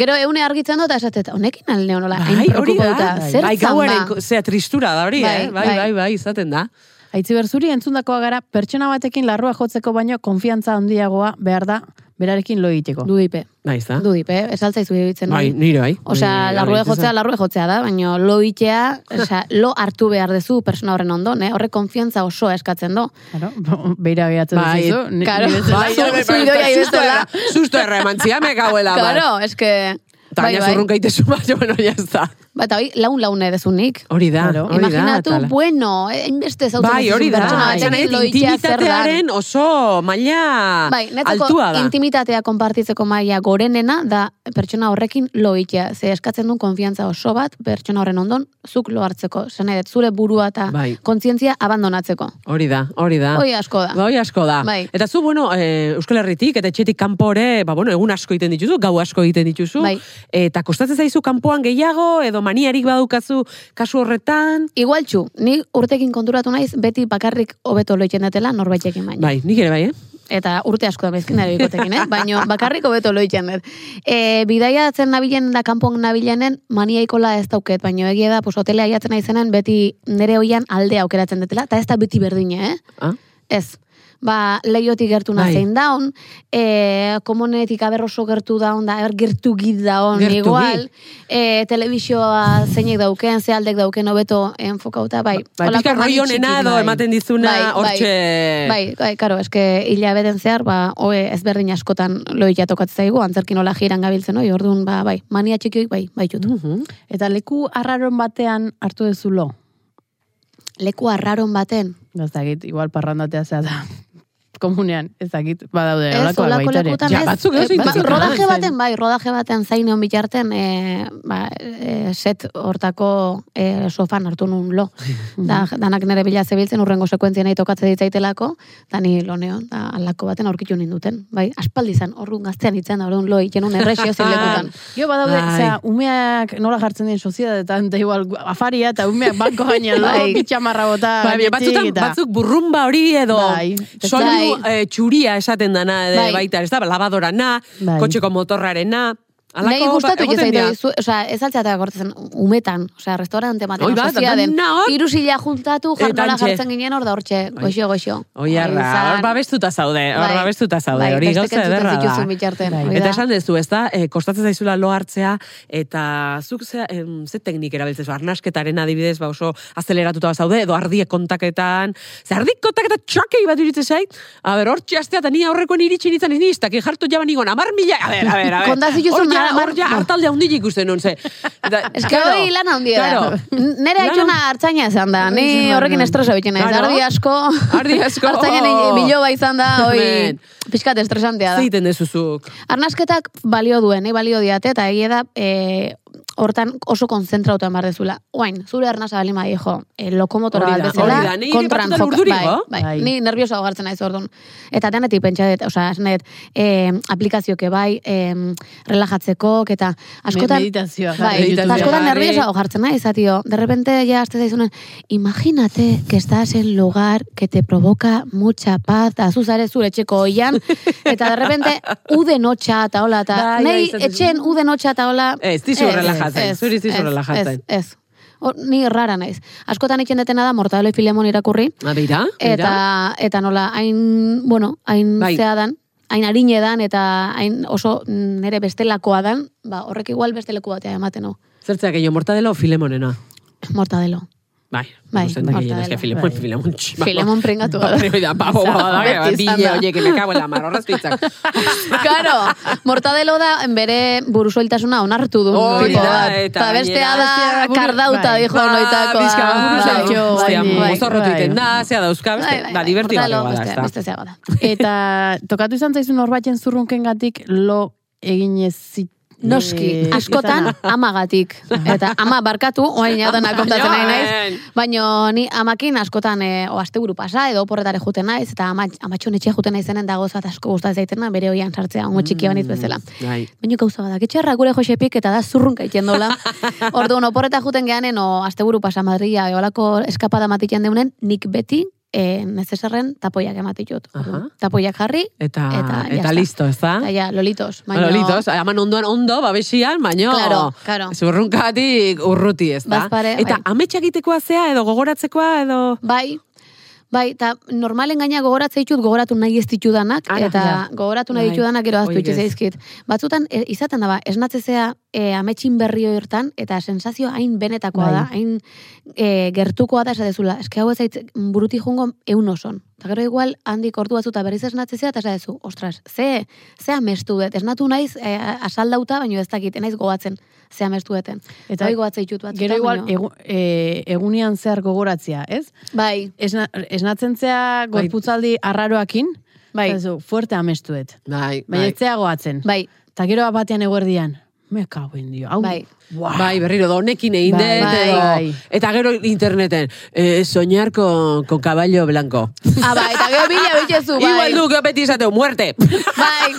[SPEAKER 3] Gero eune argitzen dut, eta esatet, honekin alde honola,
[SPEAKER 1] Bai,
[SPEAKER 3] hain
[SPEAKER 1] hori da.
[SPEAKER 3] preokupauta, zer
[SPEAKER 1] bai,
[SPEAKER 3] zan
[SPEAKER 1] gauaren,
[SPEAKER 3] ba.
[SPEAKER 1] zea tristura da hori,
[SPEAKER 3] Bai,
[SPEAKER 1] eh? Bai,
[SPEAKER 3] bai.
[SPEAKER 1] bai, bai, izaten da.
[SPEAKER 2] Aitzi berzuri entzundakoa gara, pertsona batekin larrua jotzeko baino konfiantza handiagoa behar da berarekin lo egiteko.
[SPEAKER 3] Dudipe,
[SPEAKER 1] Bai, ez da.
[SPEAKER 3] dudipe, esaltzaizu ibiltzen.
[SPEAKER 1] Bai, nire bai.
[SPEAKER 3] Osea,
[SPEAKER 1] Nire
[SPEAKER 3] larrue
[SPEAKER 1] bai,
[SPEAKER 3] jotzea, larrue jotzea da, baina lo itea, osea, lo hartu behar dezu persona horren ondon, eh? Horrek konfiantza osoa eskatzen do.
[SPEAKER 2] Claro, [laughs] beira behatzen
[SPEAKER 1] Bai,
[SPEAKER 2] duzu. ni-
[SPEAKER 3] claro.
[SPEAKER 2] ni bezala.
[SPEAKER 1] Bai,
[SPEAKER 3] Zu-
[SPEAKER 1] bai, bai,
[SPEAKER 3] zu idoia
[SPEAKER 1] bai, susto
[SPEAKER 3] ibestela.
[SPEAKER 1] erra- Susto erra emantzia me gauela, bai.
[SPEAKER 3] Claro, eske...
[SPEAKER 1] Ta
[SPEAKER 3] Bai,
[SPEAKER 1] gaina
[SPEAKER 3] bai.
[SPEAKER 1] zurrunka itezu, [laughs] baina, bueno, ya está.
[SPEAKER 3] Bata, hoi, laun laune dezunik.
[SPEAKER 1] Hori da,
[SPEAKER 2] Claro.
[SPEAKER 1] hori da.
[SPEAKER 3] Imaginatu,
[SPEAKER 1] atala.
[SPEAKER 3] bueno, enbeste zautzen
[SPEAKER 1] Bai, hori da.
[SPEAKER 3] pertsona
[SPEAKER 1] Esan
[SPEAKER 3] batekin
[SPEAKER 1] nahi,
[SPEAKER 3] lo itea zer dan.
[SPEAKER 1] intimitatearen oso maila
[SPEAKER 3] Bai, netzako
[SPEAKER 1] Ah, altua da.
[SPEAKER 3] intimitatea konpartitzeko maila gorenena da pertsona horrekin lo itea. Ze eskatzen duen konfiantza oso bat pertsona horren ondon zuk lo hartzeko. Zene, zure burua eta
[SPEAKER 1] Bai. Ah.
[SPEAKER 3] kontzientzia abandonatzeko.
[SPEAKER 1] Hori da, hori da.
[SPEAKER 3] Hoi asko da.
[SPEAKER 1] Hoi asko da.
[SPEAKER 3] Bai.
[SPEAKER 1] Eta zu, bueno, e, Euskal Herritik eta etxetik kanpo ere, ba, bueno, egun asko egiten dituzu, gau asko egiten dituzu.
[SPEAKER 3] Bai.
[SPEAKER 1] Eta kostatzen zaizu kanpoan gehiago, edo maniarik badukazu kasu horretan.
[SPEAKER 3] Igual txu, ni urtekin konturatu naiz beti bakarrik hobeto lo egiten dutela norbaitekin baina.
[SPEAKER 1] Bai, nik ere bai, eh?
[SPEAKER 3] Eta urte asko da bezkin nire bikotekin, eh? Baina bakarrik hobeto lo egiten dut. E, bidaia atzen nabilen da kanpoan nabilenen maniaikola ez dauket, baina egia da, pues, hotelea jatzen naizenen beti nire hoian aldea aukeratzen dutela, eta ez da beti berdina, eh?
[SPEAKER 1] Ah?
[SPEAKER 3] Ez. Ba, leiotik gertu
[SPEAKER 1] Bai.
[SPEAKER 3] nazein daun, e, komonetik aberroso gertu daun, da, er, gertu git daun,
[SPEAKER 1] Gertu
[SPEAKER 3] igual, e, telebisioa zeinek dauken, ze aldek dauken hobeto enfokauta, bai.
[SPEAKER 1] Bai,
[SPEAKER 3] holako
[SPEAKER 1] pika
[SPEAKER 3] mani
[SPEAKER 1] roi
[SPEAKER 3] txiki,
[SPEAKER 1] honena edo
[SPEAKER 3] bai.
[SPEAKER 1] ematen dizuna hortxe...
[SPEAKER 3] Bai, bai, karo, eske hilabeten zehar, ba, hoe ezberdin askotan loia tokatzen zaigu, antzerkin nola jiran gabiltzen, oi, orduan, ba, bai, mania txikioik, bai, bai, jutu.
[SPEAKER 1] Mhm.
[SPEAKER 2] Eta leku arraron batean hartu duzu lo.
[SPEAKER 1] Mm.
[SPEAKER 3] Leku arraron baten,
[SPEAKER 2] Ez dakit, igual parrandatea zea da [laughs] komunean, ez dakit, badaude,
[SPEAKER 3] Ez,
[SPEAKER 2] olakoak
[SPEAKER 3] olako
[SPEAKER 2] baitare.
[SPEAKER 3] lekutan
[SPEAKER 1] Eh, Ja,
[SPEAKER 3] ez.
[SPEAKER 1] batzuk oso
[SPEAKER 3] Eh, ba-
[SPEAKER 1] intensitan
[SPEAKER 3] rodaje
[SPEAKER 2] zen.
[SPEAKER 3] baten, bai, rodaje baten zaineon bitarten, e, ba, e, set hortako e, sofan hartu nun
[SPEAKER 1] [laughs]
[SPEAKER 3] lo. da, danak nere bila zebiltzen, urrengo sekuentzia nahi tokatzen ditzaitelako, da ni lo neon, da alako baten aurkitu ninduten. Bai, aspaldi zan, orduan gaztean itzen, da orduan lo ikenun erresio zein
[SPEAKER 1] [laughs]
[SPEAKER 3] lekutan.
[SPEAKER 2] Jo, badaude,
[SPEAKER 1] Bai.
[SPEAKER 2] zera, umeak nola jartzen dien soziedadetan, eta igual afaria eta umeak banko [laughs] gainean, lo,
[SPEAKER 3] Bai.
[SPEAKER 2] bitxamarra bota,
[SPEAKER 1] Bai, baina
[SPEAKER 2] gainetik
[SPEAKER 1] batzutan,
[SPEAKER 2] eta-
[SPEAKER 1] batzuk burrumba hori edo
[SPEAKER 2] Bai.
[SPEAKER 1] soinu eh, txuria esaten dana ere
[SPEAKER 3] Bai.
[SPEAKER 1] baita, ez da, labadorana,
[SPEAKER 2] Bai.
[SPEAKER 1] kotxeko motorrarena, alako... ba,
[SPEAKER 3] Nei gustatu
[SPEAKER 1] egoten
[SPEAKER 3] jezaitu,
[SPEAKER 1] dira.
[SPEAKER 3] osea, ez altzatea gortzen umetan, osea, restaurante
[SPEAKER 1] Oi,
[SPEAKER 3] baten,
[SPEAKER 1] bat,
[SPEAKER 3] soziaden,
[SPEAKER 1] ba, dana hor.
[SPEAKER 3] irusila juntatu,
[SPEAKER 1] Eh,
[SPEAKER 3] jarnola
[SPEAKER 1] tantxe.
[SPEAKER 3] jartzen ginen hor da hortxe, goxo, goxo.
[SPEAKER 1] Oi, arra, hor babestuta zaude, hor
[SPEAKER 3] Bai.
[SPEAKER 1] babestuta zaude,
[SPEAKER 3] Bai,
[SPEAKER 1] hori
[SPEAKER 3] bestek
[SPEAKER 1] gauza
[SPEAKER 3] entzuten
[SPEAKER 1] ederra da.
[SPEAKER 3] zituzun bitartean, hori
[SPEAKER 1] Eta
[SPEAKER 3] da.
[SPEAKER 1] esan dezu, ez da, eh, kostatzen zaizula lo hartzea, eta zuk ze, em, ze teknik erabiltzen zu, arnasketaren adibidez, ba oso azeleratuta zaude, edo ardiek kontaketan, ze ardik kontaketa txakei bat iritze zait, a ber, hor txastea, eta ni aurrekoen iritsi nintzen, ni iztaki jartu jaban nigon, amar mila, a ber, a ber, a ber,
[SPEAKER 3] Konta zituzun,
[SPEAKER 1] hor ja,
[SPEAKER 3] amar-
[SPEAKER 1] hor ja,
[SPEAKER 3] no.
[SPEAKER 1] hartalde handik ikusten non ze.
[SPEAKER 3] [laughs]
[SPEAKER 1] Da-
[SPEAKER 3] Ez que
[SPEAKER 1] Claro,
[SPEAKER 3] hori lan handia
[SPEAKER 1] claro.
[SPEAKER 3] da. Nere
[SPEAKER 1] Lan
[SPEAKER 3] aitona hartzaina izan da, ni
[SPEAKER 2] Izan da,
[SPEAKER 3] horrekin
[SPEAKER 2] no.
[SPEAKER 3] estresa bitzen naiz.
[SPEAKER 1] Claro.
[SPEAKER 3] Ardi asko,
[SPEAKER 1] Ardi asko.
[SPEAKER 3] hartzaina
[SPEAKER 1] Oh.
[SPEAKER 3] biloba izan da, hoi,
[SPEAKER 1] Men.
[SPEAKER 3] pixkat estresantea
[SPEAKER 1] Ze
[SPEAKER 3] da.
[SPEAKER 1] egiten dezuzuk?
[SPEAKER 3] Arnasketak balio duen, eh, balio diate, eta egia da, eh, hortan oso konzentrautan behar dezula. Oain, zure arnasa bali ma dijo, eh, lokomotora
[SPEAKER 1] Hori
[SPEAKER 3] bat
[SPEAKER 1] da,
[SPEAKER 3] bezala,
[SPEAKER 1] hori da. Ni
[SPEAKER 3] kontran
[SPEAKER 1] batzutan
[SPEAKER 3] joka.
[SPEAKER 1] urduri
[SPEAKER 3] Bai,
[SPEAKER 1] jo.
[SPEAKER 3] bai,
[SPEAKER 2] Bai.
[SPEAKER 3] ni nerviosa hogartzen naiz orduan. Eta denetik pentsa dut, osea, esan dut, eh, aplikazioke bai, eh, relajatzeko, eta askotan...
[SPEAKER 2] meditazioa jarri
[SPEAKER 3] Bai,
[SPEAKER 1] YouTube-ean
[SPEAKER 2] [laughs]
[SPEAKER 3] eta askotan
[SPEAKER 1] jarri.
[SPEAKER 3] nerviosa jartzen naiz, tío. De repente ya haste zaizunen, imagínate que estás en lugar que te provoca mucha paz, da zu zare zure etxeko oian,
[SPEAKER 1] [laughs]
[SPEAKER 3] eta de repente ude notxa eta hola, eta
[SPEAKER 1] Bai, bai,
[SPEAKER 3] nei
[SPEAKER 1] izaten zu.
[SPEAKER 3] etxen ude notxa eta hola.
[SPEAKER 1] Ez, dizu relajatzen, zuri ez dizu
[SPEAKER 3] ez,
[SPEAKER 1] relajatzen.
[SPEAKER 3] Ez, ez. Hor, ni rara naiz. Askotan egiten detena da Mortadelo y Filemon irakurri,
[SPEAKER 1] A, beira, beira.
[SPEAKER 3] eta, eta nola, hain, bueno, hain
[SPEAKER 1] Bai.
[SPEAKER 3] zea dan, hain harine dan eta hain oso nire bestelakoa dan, ba, horrek igual beste leku batea ematen hau.
[SPEAKER 1] Zertzea gehiago, mortadela o filemonena?
[SPEAKER 3] Mortadelo.
[SPEAKER 1] Bai,
[SPEAKER 3] Bai,
[SPEAKER 1] gustatzen da gehien,
[SPEAKER 3] mortadela,
[SPEAKER 1] eske filemon,
[SPEAKER 2] bai.
[SPEAKER 1] filemon, txi, bako.
[SPEAKER 3] Filemon prengatu
[SPEAKER 1] Ba,
[SPEAKER 3] gara.
[SPEAKER 1] hori da, babo, babo, da,
[SPEAKER 3] Beti
[SPEAKER 1] beti
[SPEAKER 3] izan da.
[SPEAKER 1] oiek, me kago en la mar, horrezko
[SPEAKER 3] [laughs]
[SPEAKER 1] hitzak.
[SPEAKER 3] Claro, mortadelo da bere burusoiltasuna onartu du.
[SPEAKER 1] Hori
[SPEAKER 3] tipo
[SPEAKER 1] da,
[SPEAKER 3] bat.
[SPEAKER 1] eta
[SPEAKER 3] Ta bestea
[SPEAKER 2] gainera-
[SPEAKER 3] da
[SPEAKER 2] Buru-
[SPEAKER 3] kardauta,
[SPEAKER 2] bai.
[SPEAKER 3] dijo
[SPEAKER 1] Ba,
[SPEAKER 3] noitakoa.
[SPEAKER 1] pizka bat,
[SPEAKER 3] Bai,
[SPEAKER 2] buruzatxo,
[SPEAKER 1] hostia,
[SPEAKER 3] bai, bai.
[SPEAKER 1] mozorrotu
[SPEAKER 2] bai.
[SPEAKER 1] egiten da, zea dauzka, beste,
[SPEAKER 3] Bai, bai,
[SPEAKER 1] da,
[SPEAKER 3] bai,
[SPEAKER 1] divertigarria
[SPEAKER 3] mortadelo
[SPEAKER 1] bada,
[SPEAKER 3] beste-
[SPEAKER 1] ezta.
[SPEAKER 3] Beste zea bada.
[SPEAKER 2] Eta tokatu izan zaizun norbaiten zurrunkengatik lo eginez zit...
[SPEAKER 3] Noski,
[SPEAKER 2] eh,
[SPEAKER 3] askotan
[SPEAKER 1] [laughs]
[SPEAKER 2] izana.
[SPEAKER 3] amagatik. Eta ama barkatu, oain hau dana kontatzen
[SPEAKER 1] Bai.
[SPEAKER 3] nahi naiz.
[SPEAKER 1] Joan!
[SPEAKER 3] Baina ni amakin askotan e, oasteburu pasa edo oporretare juten naiz, eta ama, amatxon etxe juten naizenen da gozat asko gustatzen zaitena, bere oian sartzea, ongo txiki banitz bezala.
[SPEAKER 1] Bai.
[SPEAKER 3] Baina gauza bada, ketxarra gure Josepik eta da zurrunka iten dola. Orduan, oporreta juten geanen, o, asteburu pasa Madria, eolako eskapada matiten deunen, nik beti, e, nezesarren tapoiak ematitut. Orduan,
[SPEAKER 1] Aha.
[SPEAKER 3] Tapoiak jarri,
[SPEAKER 1] Eta,
[SPEAKER 3] Eta
[SPEAKER 1] eta,
[SPEAKER 3] ya está.
[SPEAKER 1] listo, ez da?
[SPEAKER 3] eta ja, lolitos.
[SPEAKER 1] Baino... Ah. Lolitos, aman ondoan ondo, babesian, baino...
[SPEAKER 3] Claro, claro.
[SPEAKER 1] Zurrunkatik urruti, ez da?
[SPEAKER 3] Bazpare,
[SPEAKER 1] eta
[SPEAKER 3] bai.
[SPEAKER 1] ametsa egitekoa zea, edo gogoratzekoa, edo...
[SPEAKER 3] Bai, bai, eta normalen gaina gogoratzen ditut, gogoratu nahi ez ditudanak,
[SPEAKER 1] Ara,
[SPEAKER 3] eta
[SPEAKER 1] ja.
[SPEAKER 3] gogoratu nahi
[SPEAKER 1] Bai.
[SPEAKER 3] ditudanak gero aztu
[SPEAKER 1] Horiek
[SPEAKER 3] itxe
[SPEAKER 1] ez.
[SPEAKER 3] zaizkit. Batzutan, e, izaten da ba, esnatzezea e, ametxin berrio irtan, eta sensazio hain benetakoa
[SPEAKER 2] Bai.
[SPEAKER 3] da, hain e, gertukoa da esatezula. Eske hau ez zait buruti jungo eun oson. Eta gero igual, handik ordu batzuta berriz esnatzezea, eta esatezu, ostras, ze, ze amestu dut, esnatu naiz e, asaldauta, baino ez dakit, naiz gogatzen, ze amestu duten.
[SPEAKER 2] Eta
[SPEAKER 3] Eta hori gogatzen ditut
[SPEAKER 2] Bai.
[SPEAKER 3] batzutan,
[SPEAKER 2] Gero igual,
[SPEAKER 3] baino-
[SPEAKER 2] egu, e, egunean zehar gogoratzea, ez?
[SPEAKER 3] Bai,
[SPEAKER 2] Esna, esnatzen zea gorputzaldi arraroakin,
[SPEAKER 3] Bai.
[SPEAKER 2] eta zu, fuerte amestuet.
[SPEAKER 1] Bai,
[SPEAKER 2] Baina
[SPEAKER 1] bai.
[SPEAKER 2] ez zea goatzen.
[SPEAKER 3] bai,
[SPEAKER 2] Eta gero batean eguerdian, me kaguen dio. Hau,
[SPEAKER 3] Bai.
[SPEAKER 2] Buah.
[SPEAKER 1] Bai, berriro da, honekin egin
[SPEAKER 2] Bai,
[SPEAKER 1] dut,
[SPEAKER 3] bai,
[SPEAKER 1] edo...
[SPEAKER 2] bai.
[SPEAKER 1] Eta gero interneten, eh, soñar con, con caballo blanco.
[SPEAKER 3] Ah, bai, eta gero bila bitxezu, bai.
[SPEAKER 1] Igual du, que beti izateu, muerte.
[SPEAKER 3] Bai,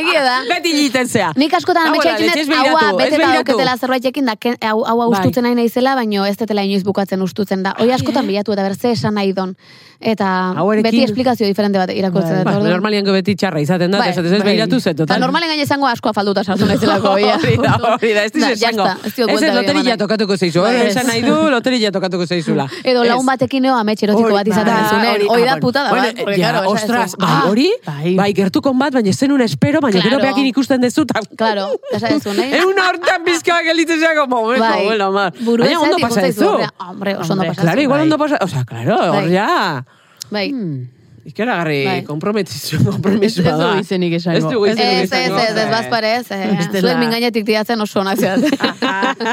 [SPEAKER 3] egia da.
[SPEAKER 1] beti egiten zea.
[SPEAKER 3] Nik askotan
[SPEAKER 1] Ah,
[SPEAKER 3] ametsa
[SPEAKER 1] bola,
[SPEAKER 3] egiten
[SPEAKER 1] letxez
[SPEAKER 3] dut,
[SPEAKER 1] begiratu,
[SPEAKER 3] haua
[SPEAKER 1] ez
[SPEAKER 3] beteta
[SPEAKER 1] begiratu. Bai.
[SPEAKER 3] dauketela zerbaitekin, da, ken- hau hau ustutzen nahi naizela, baino ez detela inoiz bukatzen ustutzen da. Hoi askotan bilatu eta berze esan nahi don. Eta
[SPEAKER 1] Ah, Hauarekin-
[SPEAKER 3] beti esplikazio diferente bat irakurtzen
[SPEAKER 2] Bai,
[SPEAKER 3] dut.
[SPEAKER 1] Ba,
[SPEAKER 3] orduan.
[SPEAKER 1] normalian go beti txarra izaten da,
[SPEAKER 3] Bai,
[SPEAKER 1] bai, ez
[SPEAKER 2] bai.
[SPEAKER 1] behiratu ze,
[SPEAKER 3] Eta
[SPEAKER 1] total.
[SPEAKER 3] normalen gaine esango askoa falduta sartu naizelako. ia.
[SPEAKER 1] [laughs] Hori da, hori da, ez dizu
[SPEAKER 3] Da, ya
[SPEAKER 1] esango.
[SPEAKER 3] está, ez diot
[SPEAKER 1] Ez
[SPEAKER 3] buelta
[SPEAKER 1] ez
[SPEAKER 3] gehiago
[SPEAKER 1] loterilla
[SPEAKER 3] eman.
[SPEAKER 1] tokatuko zeizu, hor,
[SPEAKER 3] Bai, ez.
[SPEAKER 1] esan nahi du, loterilla tokatuko zeizula.
[SPEAKER 3] Edo
[SPEAKER 1] Ez.
[SPEAKER 3] lagun batekin eo amets erotiko
[SPEAKER 1] Hori,
[SPEAKER 3] bat izaten
[SPEAKER 1] bai,
[SPEAKER 3] dezunen.
[SPEAKER 1] hori-
[SPEAKER 3] Hoi
[SPEAKER 1] ah,
[SPEAKER 3] da
[SPEAKER 1] bueno.
[SPEAKER 3] putada
[SPEAKER 1] Bueno,
[SPEAKER 3] bat. porque,
[SPEAKER 1] ja,
[SPEAKER 3] claro, esan
[SPEAKER 1] ostras,
[SPEAKER 3] duzu,
[SPEAKER 1] bai,
[SPEAKER 3] ah,
[SPEAKER 1] hori,
[SPEAKER 2] bai.
[SPEAKER 1] bai, gertukon bat, baina zenun espero, baina
[SPEAKER 3] Claro.
[SPEAKER 1] gero beakin ikusten dezu, eta...
[SPEAKER 3] Claro, esan duzu, nahi?
[SPEAKER 1] [laughs] Egun hortan bizka gelitzen zeago, momento,
[SPEAKER 3] Bai.
[SPEAKER 1] bueno, mar.
[SPEAKER 3] Burua
[SPEAKER 1] Baina ondo
[SPEAKER 3] zaitik
[SPEAKER 1] pasa
[SPEAKER 3] utzaizu,
[SPEAKER 1] dezu.
[SPEAKER 3] hombre, Hombre, oso ondo
[SPEAKER 2] Hombre,
[SPEAKER 3] pasa
[SPEAKER 1] Claro,
[SPEAKER 3] duzu.
[SPEAKER 1] igual
[SPEAKER 2] bai.
[SPEAKER 1] ondo pasa... O sea, claro, hor
[SPEAKER 3] Bai.
[SPEAKER 1] ja...
[SPEAKER 3] Bai. Bai.
[SPEAKER 1] Ikeragarri, komprometizu, kompromisu
[SPEAKER 2] Ez- ez
[SPEAKER 1] bada.
[SPEAKER 2] du izenik esango.
[SPEAKER 1] Ez du
[SPEAKER 2] Ez-
[SPEAKER 1] izenik
[SPEAKER 3] Ez, ez,
[SPEAKER 1] esango.
[SPEAKER 3] ez, ez, bazpare ez. eh.
[SPEAKER 2] Bestela-
[SPEAKER 3] Zuek mingainetik diatzen oso ona
[SPEAKER 2] Ah.
[SPEAKER 3] zeat.
[SPEAKER 2] [laughs]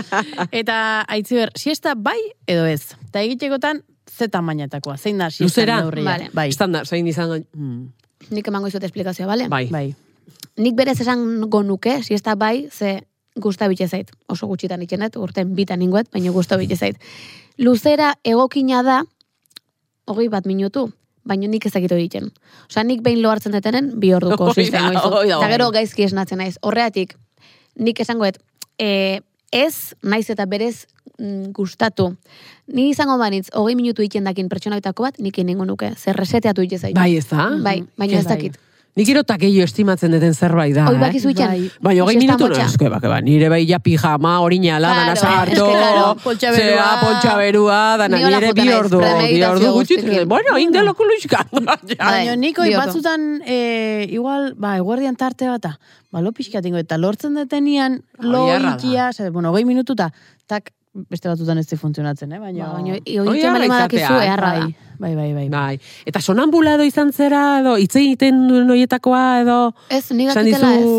[SPEAKER 2] Eta aitziber, siesta bai edo ez? Eta egitekotan, ze tamainatakoa, zein da siesta
[SPEAKER 1] Luzera?
[SPEAKER 3] Vale.
[SPEAKER 2] Bai.
[SPEAKER 1] Estandar, zein izango... Mm,
[SPEAKER 3] Nik emango izut esplikazioa, bale?
[SPEAKER 1] Bai.
[SPEAKER 2] bai.
[SPEAKER 3] Nik berez esango nuke, siesta bai, ze gusta bitxe zait. Oso gutxitan ikenet, urten bitan ingoet, baina gusta bitxe zait. Luzera egokina da, hogei bat minutu, baina nik ezakitu egiten. Osea, nik behin lo hartzen detenen, bi orduko
[SPEAKER 1] Hoi da,
[SPEAKER 3] siesta emango
[SPEAKER 1] hoi
[SPEAKER 3] izut.
[SPEAKER 1] da,
[SPEAKER 3] Eta
[SPEAKER 1] hoi.
[SPEAKER 3] gero gaizki esnatzen naiz. Horreatik, nik esangoet, e, ez, naiz eta berez mm, gustatu. Ni izango banitz, hogei minutu egiten dakin pertsonaitako bat, nik inengo nuke. Zer reseteatu egiten zait.
[SPEAKER 1] Bai, ez da?
[SPEAKER 3] Bai, baina ez
[SPEAKER 2] Bai.
[SPEAKER 3] dakit.
[SPEAKER 1] Nik gero eta gehiago estimatzen duten zerbait da,
[SPEAKER 3] Hoi
[SPEAKER 1] eh?
[SPEAKER 3] bakizu itxan.
[SPEAKER 2] Bai.
[SPEAKER 1] Baina hogei
[SPEAKER 3] Siesta
[SPEAKER 1] minutu no,
[SPEAKER 3] motxa.
[SPEAKER 1] eske, ba, que ba, nire bai ja pijama, orinala,
[SPEAKER 3] Claro,
[SPEAKER 1] dana sarto,
[SPEAKER 3] [laughs] es que claro,
[SPEAKER 2] poltsa
[SPEAKER 1] zea,
[SPEAKER 2] berua.
[SPEAKER 1] poltsa berua, dana
[SPEAKER 3] Ni hola
[SPEAKER 1] nire bi
[SPEAKER 3] juten naiz,
[SPEAKER 1] ordu, bi
[SPEAKER 3] premeditazio
[SPEAKER 1] ordu gutxi,
[SPEAKER 3] guztiekin.
[SPEAKER 1] bueno, indeloko [laughs] luizka.
[SPEAKER 3] Bai.
[SPEAKER 2] Baina niko
[SPEAKER 3] bioko.
[SPEAKER 2] batzutan, e, igual, ba, eguerdian tarte bata, ba, lo pixkatingo, eta lortzen detenian, lo
[SPEAKER 1] Hori erra da.
[SPEAKER 2] ikia, zare, bueno, hogei minututa, tak, beste batzutan ez di funtzionatzen, eh? Baina,
[SPEAKER 3] Ba, baina
[SPEAKER 1] Hoi
[SPEAKER 3] oitzen
[SPEAKER 1] harra
[SPEAKER 3] bali badakizu
[SPEAKER 1] izatea,
[SPEAKER 3] eharra da.
[SPEAKER 2] bai, bai, bai, bai.
[SPEAKER 1] Bai. Eta sonambula edo izan zera, edo hitz egiten duen noietakoa, edo...
[SPEAKER 3] Ez, ni
[SPEAKER 1] esan
[SPEAKER 3] dakitela ez.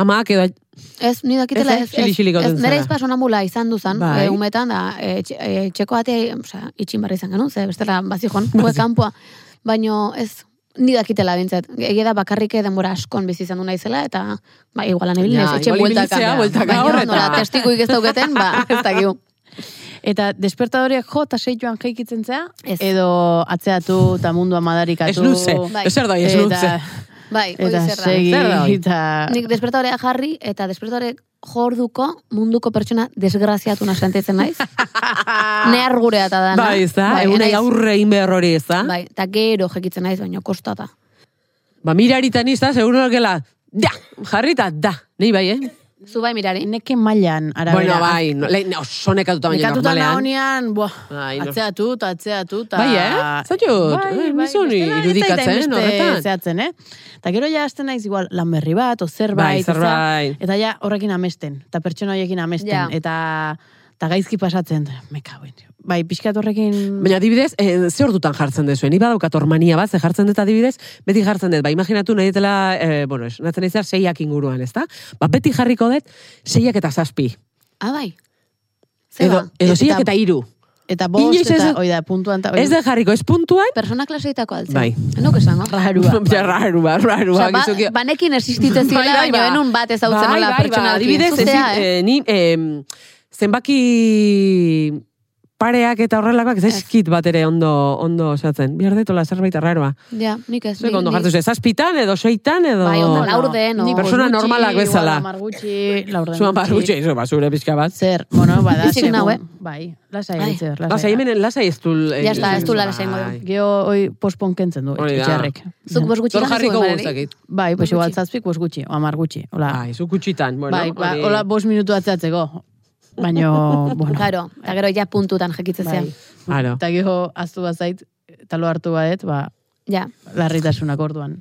[SPEAKER 1] Amak edo...
[SPEAKER 3] Ez, ni dakitela
[SPEAKER 1] Ez, eh?
[SPEAKER 3] ez. Ez,
[SPEAKER 1] Xili-xili
[SPEAKER 3] ez
[SPEAKER 1] gauden
[SPEAKER 3] nire
[SPEAKER 1] zara.
[SPEAKER 3] izpa sonambula izan duzan,
[SPEAKER 1] Bai.
[SPEAKER 3] e, umetan, da, e, txe- e, txeko batea, oza, itxin barri izan genuen, ze bestela bazijon, hue kanpoa. Baino, ez, ni dakitela bintzat. Egia da bakarrik eh, denbora askon bizi izan du naizela, eta, ba, igualan ibili
[SPEAKER 1] Ja,
[SPEAKER 3] naiz, etxe
[SPEAKER 1] igual
[SPEAKER 3] bueltaka.
[SPEAKER 1] ibiltzea,
[SPEAKER 3] Ja.
[SPEAKER 1] bueltaka hor,
[SPEAKER 3] Baina,
[SPEAKER 1] eta-
[SPEAKER 3] nola, testikuik ez dauketen, ba, ez dakigu.
[SPEAKER 2] Eta despertadoriak jo, eta seituan jeikitzen zea,
[SPEAKER 3] Ez.
[SPEAKER 2] edo atzeatu, eta mundua madarikatu.
[SPEAKER 1] Ez luze,
[SPEAKER 3] Bai.
[SPEAKER 1] ez erdoi, ez
[SPEAKER 2] Eta-
[SPEAKER 1] luze.
[SPEAKER 3] Bai, hori
[SPEAKER 2] Eta
[SPEAKER 3] zerra.
[SPEAKER 2] segi,
[SPEAKER 1] Zer da hori?
[SPEAKER 2] eta...
[SPEAKER 1] Ah.
[SPEAKER 3] Nik despertadorea jarri, eta despertadore jorduko munduko pertsona desgraziatuna sentitzen
[SPEAKER 1] [laughs]
[SPEAKER 3] naiz. Nehar gurea eta dana.
[SPEAKER 1] Bai, ez da,
[SPEAKER 3] Bai,
[SPEAKER 1] egunei
[SPEAKER 3] naiz-
[SPEAKER 1] aurre egin behar hori, ez da?
[SPEAKER 3] Bai, eta gero jekitzen naiz, baina kostata.
[SPEAKER 1] Ba, miraritan izta, seguro gela, da, jarrita, da, nahi bai, eh?
[SPEAKER 3] Zu bai mirari.
[SPEAKER 2] Neke mailan, arabera. Ah,
[SPEAKER 1] Bueno, bai, no, lehin oso nekatuta baina
[SPEAKER 2] Nekatuta
[SPEAKER 1] normalean.
[SPEAKER 2] nagonean, buah,
[SPEAKER 1] Ai, no.
[SPEAKER 2] atzeatu, eta atzeatu, eta... Bai,
[SPEAKER 1] Bai, eh? Zaiut, eh, nizun
[SPEAKER 2] bestela ez
[SPEAKER 1] irudikatzen, eh,
[SPEAKER 2] zait hainbeste
[SPEAKER 1] horretan.
[SPEAKER 2] Zehatzen, eh? Eta gero ja hasten naiz igual lan berri bat, o
[SPEAKER 1] Bai,
[SPEAKER 2] zerbait, eta-
[SPEAKER 1] zerbait.
[SPEAKER 2] eta ja horrekin amesten, eta pertsona horiekin amesten,
[SPEAKER 3] Ja.
[SPEAKER 2] eta, eta gaizki pasatzen, me kauen. Bai, pixkat horrekin...
[SPEAKER 1] Baina adibidez, eh, ze ordutan jartzen dezu? Ni badaukat ormania bat, ze jartzen dut adibidez, beti jartzen dut. Ba, imaginatu nahi dela, eh, bueno, ez, natzen nahi seiak inguruan, ezta? Ba, beti jarriko dut, seiak eta zazpi.
[SPEAKER 3] Ah, bai. Ze
[SPEAKER 1] Edo,
[SPEAKER 3] ba?
[SPEAKER 1] edo
[SPEAKER 2] Eta-
[SPEAKER 1] seiak eta iru.
[SPEAKER 2] Eta bost,
[SPEAKER 1] Inoiz ez
[SPEAKER 2] eta
[SPEAKER 1] dut-
[SPEAKER 2] oi da, puntuan, eta oi
[SPEAKER 1] Ez da jarriko, ez puntuan,
[SPEAKER 3] Persona klaseitako altzen.
[SPEAKER 1] Bai.
[SPEAKER 3] Nuk esango.
[SPEAKER 2] rarua.
[SPEAKER 1] [laughs] Ja, rarua, rarua,
[SPEAKER 3] Osea, ba,
[SPEAKER 1] gizokio.
[SPEAKER 3] banekin
[SPEAKER 1] Bai,
[SPEAKER 3] existitzen zirela,
[SPEAKER 1] bai,
[SPEAKER 3] baina
[SPEAKER 1] ba.
[SPEAKER 3] benun bat ezautzen
[SPEAKER 1] Bai,
[SPEAKER 3] nola
[SPEAKER 1] bai,
[SPEAKER 3] pertsona
[SPEAKER 1] ba,
[SPEAKER 3] horiekin.
[SPEAKER 1] Adibidez,
[SPEAKER 3] Zuzea,
[SPEAKER 1] ezin-
[SPEAKER 3] eh?
[SPEAKER 1] eh, ni em, zenbaki pareak eta horrelakoak ez eskit bat ere ondo ondo osatzen. Bihar detola zerbait arraroa.
[SPEAKER 3] Ja, nik ez.
[SPEAKER 1] Zuek
[SPEAKER 3] ni-
[SPEAKER 1] ondo
[SPEAKER 3] ni-
[SPEAKER 1] jartzen zuen, zazpitan edo seitan edo...
[SPEAKER 3] Bai, ondo,
[SPEAKER 2] Bueno,
[SPEAKER 3] laur den, o-
[SPEAKER 2] nik
[SPEAKER 1] Persona
[SPEAKER 2] gutxi,
[SPEAKER 1] normalak bezala.
[SPEAKER 2] igual Hamar gutxi, laurden
[SPEAKER 1] Zuan bar, gutxe, izo, basure pixka bat.
[SPEAKER 2] Zer, bueno, bada,
[SPEAKER 3] Bizik nau, eh?
[SPEAKER 2] Bai, lasai,
[SPEAKER 3] Ai.
[SPEAKER 2] zer, lasai.
[SPEAKER 1] Lasai, hemen lasai ez du... eh,
[SPEAKER 3] Ja está, ez du
[SPEAKER 1] bai.
[SPEAKER 3] lasai ingo du.
[SPEAKER 2] Geo, hoi, pospon kentzen du,
[SPEAKER 1] Hori da.
[SPEAKER 2] etxarrek.
[SPEAKER 3] Zuk bos gutxi
[SPEAKER 1] Zor
[SPEAKER 3] lan
[SPEAKER 1] jarriko
[SPEAKER 3] zuen, Marari.
[SPEAKER 1] guztakit.
[SPEAKER 2] Bai, pues
[SPEAKER 3] Bost
[SPEAKER 2] igual
[SPEAKER 3] gutxi.
[SPEAKER 2] zazpik, bos gutxi, o hamar gutxi,
[SPEAKER 3] bai.
[SPEAKER 2] hola.
[SPEAKER 1] Ai, zu kutxitan, bueno.
[SPEAKER 2] bai, ba,
[SPEAKER 1] hori-
[SPEAKER 2] hola, bos minutu atzeatzeko.
[SPEAKER 3] [laughs]
[SPEAKER 2] Baino, bueno.
[SPEAKER 3] Claro, eta gero ja puntutan jakitzezean.
[SPEAKER 2] bai.
[SPEAKER 1] Aro.
[SPEAKER 2] Eta gero, aztu bazait, eta lo hartu badet, ba,
[SPEAKER 3] Ja,
[SPEAKER 2] larritasunak orduan.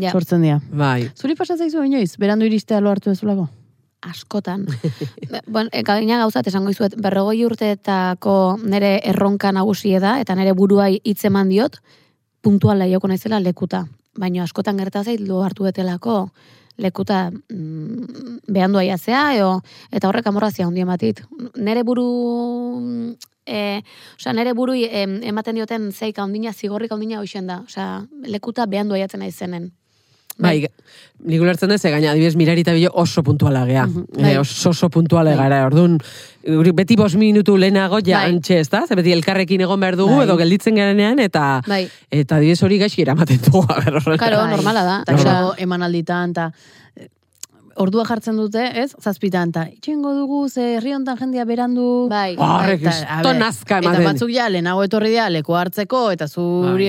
[SPEAKER 3] ja.
[SPEAKER 2] Sortzen dira.
[SPEAKER 1] Bai.
[SPEAKER 2] Zuri pasatzaizu inoiz, berandu iristea lo hartu ezulako?
[SPEAKER 3] askotan. Ba, bueno, e, gaina gauzat esango izuet, berrogoi urteetako nire erronka nagusie da, eta nire burua hitz eman diot, puntual laioko naizela lekuta. Baina askotan gerta zait lo hartu betelako lekuta mm, behandu aiatzea, eo, eta horrek amorrazia hundien batit. Nere buru... mm, E, osea, nere buru ematen dioten zeik handina, zigorrik handina hoxen da. Osea, lekuta behandu aiatzen aizenen.
[SPEAKER 1] Bai, nik ulertzen dut, ze gaina adibidez mirari eta bilo oso puntuala gea.
[SPEAKER 3] bai.
[SPEAKER 1] Eh, oso oso puntuala gara, orduan, guri beti bost minutu lehenago ja
[SPEAKER 3] Bai.
[SPEAKER 1] antxe, ez da? Ze beti elkarrekin egon behar dugu,
[SPEAKER 2] Bai.
[SPEAKER 1] edo gelditzen garenean, eta
[SPEAKER 3] Bai.
[SPEAKER 1] eta adibidez hori gaixi eramaten dugu, a ber, horrela. Bai.
[SPEAKER 3] Karo, normala da.
[SPEAKER 2] Bai. Eta gero
[SPEAKER 3] Normala.
[SPEAKER 2] emanalditan, eta eh, ordua jartzen dute, ez? Zazpitan, eta itxengo dugu, ze herri hontan jendia berandu.
[SPEAKER 3] Bai.
[SPEAKER 1] Horrek
[SPEAKER 2] Eta, a
[SPEAKER 1] isto
[SPEAKER 2] ber,
[SPEAKER 1] nazka
[SPEAKER 2] Eta
[SPEAKER 1] ematen.
[SPEAKER 2] batzuk ja, lehenago etorri dira leku hartzeko, eta zuri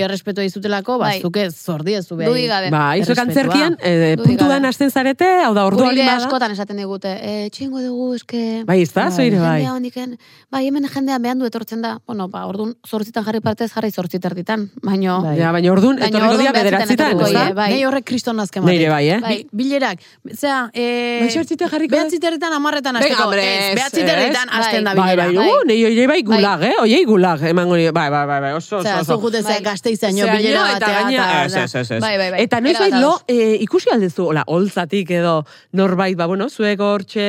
[SPEAKER 1] Bai.
[SPEAKER 2] errespetua izutelako, ba,
[SPEAKER 3] Bai.
[SPEAKER 2] zuk ez zordiezu behar.
[SPEAKER 3] Dudik gabe.
[SPEAKER 1] Ba, izo
[SPEAKER 2] Errespetua.
[SPEAKER 1] kantzerkian, eh,
[SPEAKER 3] Dudik
[SPEAKER 1] puntuan
[SPEAKER 3] gabe.
[SPEAKER 1] hasten zarete, hau da, ordu
[SPEAKER 3] Guri
[SPEAKER 1] hori
[SPEAKER 3] ere
[SPEAKER 1] bada.
[SPEAKER 3] askotan esaten digute, e, txingo dugu, eske...
[SPEAKER 1] Bai, ez da, zoire, bai.
[SPEAKER 3] Jendea hondiken, bai, hemen jendea behandu etortzen da. Bueno, ba, orduan zortzitan jarri partez jarri zortziterditan, baino...
[SPEAKER 2] Bai.
[SPEAKER 1] Ja, baina orduan,
[SPEAKER 3] Baina
[SPEAKER 1] etorriko
[SPEAKER 3] orduan
[SPEAKER 1] dira
[SPEAKER 3] bederatzitan
[SPEAKER 1] bederatzitan, ez da?
[SPEAKER 3] etorriko dira, bai.
[SPEAKER 2] Nei horrek kriston azken
[SPEAKER 1] Neire bai, eh?
[SPEAKER 3] Bai.
[SPEAKER 2] Bilerak, zera, e,
[SPEAKER 1] Bai, zortzite jarriko da?
[SPEAKER 2] behatziterritan amarretan
[SPEAKER 1] Venga,
[SPEAKER 2] hasteko.
[SPEAKER 1] hombre,
[SPEAKER 2] Ez,
[SPEAKER 1] ez,
[SPEAKER 2] behatziterritan
[SPEAKER 3] ez.
[SPEAKER 2] hasten da
[SPEAKER 3] Bai,
[SPEAKER 1] Bai,
[SPEAKER 2] bilera.
[SPEAKER 1] bai,
[SPEAKER 3] Bai.
[SPEAKER 1] uh, nei oiei bai
[SPEAKER 3] Bai.
[SPEAKER 1] gulag, eh? Oiei gulag, emango nire, bai, bai, bai, bai, oso, oso,
[SPEAKER 2] Osea,
[SPEAKER 1] oso.
[SPEAKER 2] zu jute
[SPEAKER 3] Bai.
[SPEAKER 2] ze gazteizaino
[SPEAKER 1] Zeraino,
[SPEAKER 2] bilera batea.
[SPEAKER 1] gaina-
[SPEAKER 2] eta-
[SPEAKER 1] ez, ez, ez, ez.
[SPEAKER 3] Bai, bai, bai.
[SPEAKER 1] Eta noiz bai,
[SPEAKER 3] Erabat
[SPEAKER 1] lo,
[SPEAKER 3] ados.
[SPEAKER 1] e, ikusi aldezu, hola, holtzatik edo norbait, ba, bueno, zuek hortxe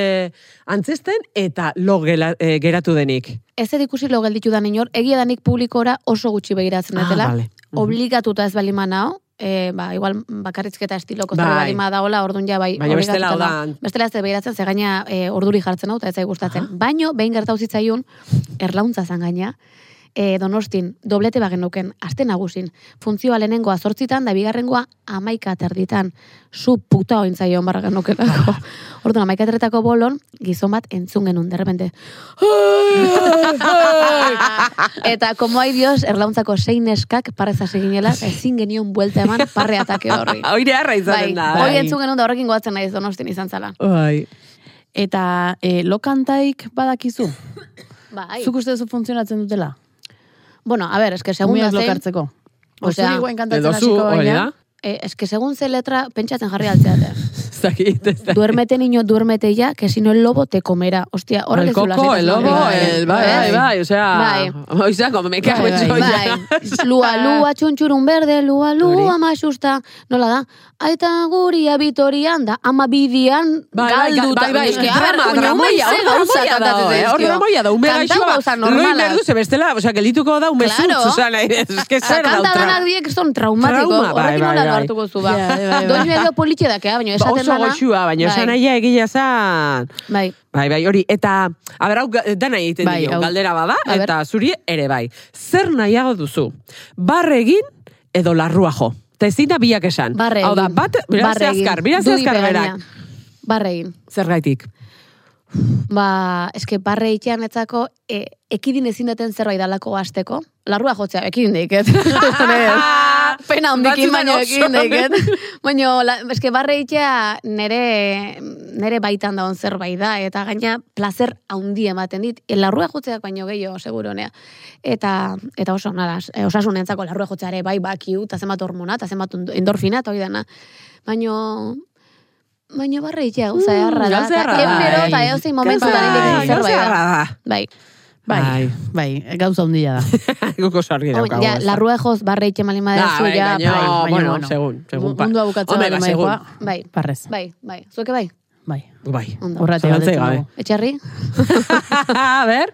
[SPEAKER 1] antzesten, eta lo gela- e, geratu denik.
[SPEAKER 3] Ez ed ikusi lo gelditu da inor, egia danik publikora oso gutxi begiratzen
[SPEAKER 1] Ah,
[SPEAKER 3] dutela.
[SPEAKER 1] vale. Mhm. [laughs]
[SPEAKER 3] Obligatuta ez balima nao, e, ba, igual bakarrizketa estiloko zer
[SPEAKER 1] Bai.
[SPEAKER 3] balima daola, orduan ja bai.
[SPEAKER 1] Baina bestela,
[SPEAKER 3] obligatuta
[SPEAKER 1] hau da-
[SPEAKER 3] nao. Bestela ez dut begiratzen, ze gaina e, orduri jartzen hau, eta ez zait gustatzen. Baino, behin gertau zitzaion, erlauntza zan gaina, e, donostin, doblete bagenuken, aste nagusin, funtzioa lehenengoa zortzitan, da bigarrengoa amaika terditan, zu puta ointzaion barra
[SPEAKER 1] [laughs]
[SPEAKER 3] genukelako. Orduan, amaika terretako bolon, gizon bat entzun genuen, derrepente. Eta, como hay dios, erlauntzako zein eskak parrez hasi ginela, ezin genion buelta eman parre atake
[SPEAKER 1] [laughs]
[SPEAKER 3] horri.
[SPEAKER 1] Oire arra
[SPEAKER 3] Bai,
[SPEAKER 1] izaten da. eh.
[SPEAKER 3] hori entzun genuen da horrekin goatzen naiz donostin izan zala.
[SPEAKER 1] Bai.
[SPEAKER 2] Eta e, lokantaik badakizu.
[SPEAKER 3] Bai.
[SPEAKER 2] Zuk uste duzu funtzionatzen dutela?
[SPEAKER 3] Bueno, a ver, eske segun da
[SPEAKER 2] Umeak
[SPEAKER 3] zein,
[SPEAKER 2] lokartzeko.
[SPEAKER 3] Osea,
[SPEAKER 2] Osea, guen
[SPEAKER 1] Edo
[SPEAKER 2] kantatzen
[SPEAKER 1] zu,
[SPEAKER 2] hasiko
[SPEAKER 1] hori da?
[SPEAKER 2] baina.
[SPEAKER 3] eh, eske segun ze letra pentsatzen jarri
[SPEAKER 1] [laughs]
[SPEAKER 3] altzeate.
[SPEAKER 1] Ez dakit, ez dakit.
[SPEAKER 3] duérmete niño, duérmete ya, que si no el lobo te comerá. Hostia, ahora
[SPEAKER 1] El
[SPEAKER 3] que
[SPEAKER 1] coco, el lobo,
[SPEAKER 2] Bai,
[SPEAKER 1] el bai, bai, bai, osea,
[SPEAKER 3] Bai.
[SPEAKER 1] osea, como me cago en
[SPEAKER 2] Bai,
[SPEAKER 1] su [laughs]
[SPEAKER 3] Bai, lua, lua, txuntxurun berde, lua, lua,
[SPEAKER 1] Hori.
[SPEAKER 3] masusta, nola da, aita guria bitorian da, ama bidian
[SPEAKER 1] Bai, bai,
[SPEAKER 3] galduta.
[SPEAKER 1] bai, bai,
[SPEAKER 3] Eske,
[SPEAKER 1] eske,
[SPEAKER 3] a ber,
[SPEAKER 1] drama,
[SPEAKER 3] coño,
[SPEAKER 1] dramoia, hor
[SPEAKER 3] hauek ze gauza
[SPEAKER 1] dramoia da,
[SPEAKER 3] kantatzen
[SPEAKER 1] eh, hor
[SPEAKER 3] zaizkio.
[SPEAKER 1] dramoia da, ume
[SPEAKER 3] Kantau
[SPEAKER 1] gaixoa,
[SPEAKER 3] gauza
[SPEAKER 1] loin
[SPEAKER 3] normalak.
[SPEAKER 1] berdu, ze bestela, osea, gelituko da, ume
[SPEAKER 3] Claro.
[SPEAKER 1] zutz, osea, nahi, eske
[SPEAKER 3] Eta
[SPEAKER 1] zer
[SPEAKER 3] kanta
[SPEAKER 1] dautra.
[SPEAKER 3] danak diek son traumatiko,
[SPEAKER 1] Trauma, bai,
[SPEAKER 3] horrekin
[SPEAKER 1] bai,
[SPEAKER 3] nola
[SPEAKER 1] bai.
[SPEAKER 3] hartuko zu, ba.
[SPEAKER 2] Ja, bai, bai, bai.
[SPEAKER 3] Doinu edo politxe da, baina
[SPEAKER 1] Ba,
[SPEAKER 3] esaten
[SPEAKER 1] oso
[SPEAKER 3] dana.
[SPEAKER 1] goxua, baina
[SPEAKER 3] bai,
[SPEAKER 1] esan nahia egia zan.
[SPEAKER 3] Bai,
[SPEAKER 1] Bai, bai, hori, eta, a ber, hau ga- dana egiten
[SPEAKER 2] Bai,
[SPEAKER 1] dio,
[SPEAKER 2] hau.
[SPEAKER 1] galdera bada,
[SPEAKER 3] A ber.
[SPEAKER 1] eta zuri ere bai. Zer nahiago duzu? Barre egin edo larrua jo. Eta ezin da biak esan.
[SPEAKER 3] barre egin.
[SPEAKER 1] Hau da, bat, bera
[SPEAKER 3] barre
[SPEAKER 1] ze
[SPEAKER 3] egin.
[SPEAKER 1] azkar, bera ze
[SPEAKER 3] Dugi
[SPEAKER 1] azkar
[SPEAKER 3] pegatina.
[SPEAKER 1] berak.
[SPEAKER 3] Barre egin.
[SPEAKER 1] Zer gaitik?
[SPEAKER 3] Ba, eske barre itean etzako, e, ekidin ezin duten zerbait dalako asteko. Larrua jotzea, ekidin deiket. pena hondikin
[SPEAKER 1] batzutan
[SPEAKER 3] baino
[SPEAKER 1] Ah, oso.
[SPEAKER 3] egin eh? daiket.
[SPEAKER 1] [laughs]
[SPEAKER 3] [laughs] Baina, la- eske barre itea nere, nere baitan daun zerbait da, eta gaina placer handi ematen dit. E, Larrua jotzeak baino gehiago, seguronea. Eta, eta oso nara, e, osasunentzako larrua jotzeare bai bakiu, eta zenbat hormona, eta zenbat endorfina, eta hori dana. Baino, baino barre itea, gauza
[SPEAKER 1] Mm,
[SPEAKER 3] eharra da.
[SPEAKER 1] gauza
[SPEAKER 3] Eta
[SPEAKER 1] eharra da.
[SPEAKER 3] egunero eta edozein momentutan
[SPEAKER 1] Bai,
[SPEAKER 3] egiten
[SPEAKER 1] gauza
[SPEAKER 3] zerbait da.
[SPEAKER 1] erra da.
[SPEAKER 3] Bai.
[SPEAKER 2] Bai, bai, gauza hundia da.
[SPEAKER 1] [laughs] Guk oso argi
[SPEAKER 3] Oh,
[SPEAKER 1] daukagu.
[SPEAKER 3] ja,
[SPEAKER 1] ez.
[SPEAKER 3] larrua joz barre itxe malin
[SPEAKER 1] Da,
[SPEAKER 3] badezu,
[SPEAKER 1] bai,
[SPEAKER 3] ja,
[SPEAKER 1] gaino,
[SPEAKER 3] bai.
[SPEAKER 2] baina
[SPEAKER 1] bueno,
[SPEAKER 2] bueno.
[SPEAKER 1] segun, segun. pa-
[SPEAKER 2] Mundua bukatzea
[SPEAKER 1] Hombre,
[SPEAKER 2] bale
[SPEAKER 1] ba, segun.
[SPEAKER 2] maiakoa.
[SPEAKER 3] Bai,
[SPEAKER 2] Parrez.
[SPEAKER 3] bai, bai. Zueke bai?
[SPEAKER 2] Bai.
[SPEAKER 1] Bai.
[SPEAKER 3] Ondo.
[SPEAKER 2] Horretik
[SPEAKER 1] Zalantzarik
[SPEAKER 2] galdetzen
[SPEAKER 1] gabe.
[SPEAKER 2] dugu.
[SPEAKER 3] Etxerri?
[SPEAKER 2] [laughs]
[SPEAKER 1] A ber.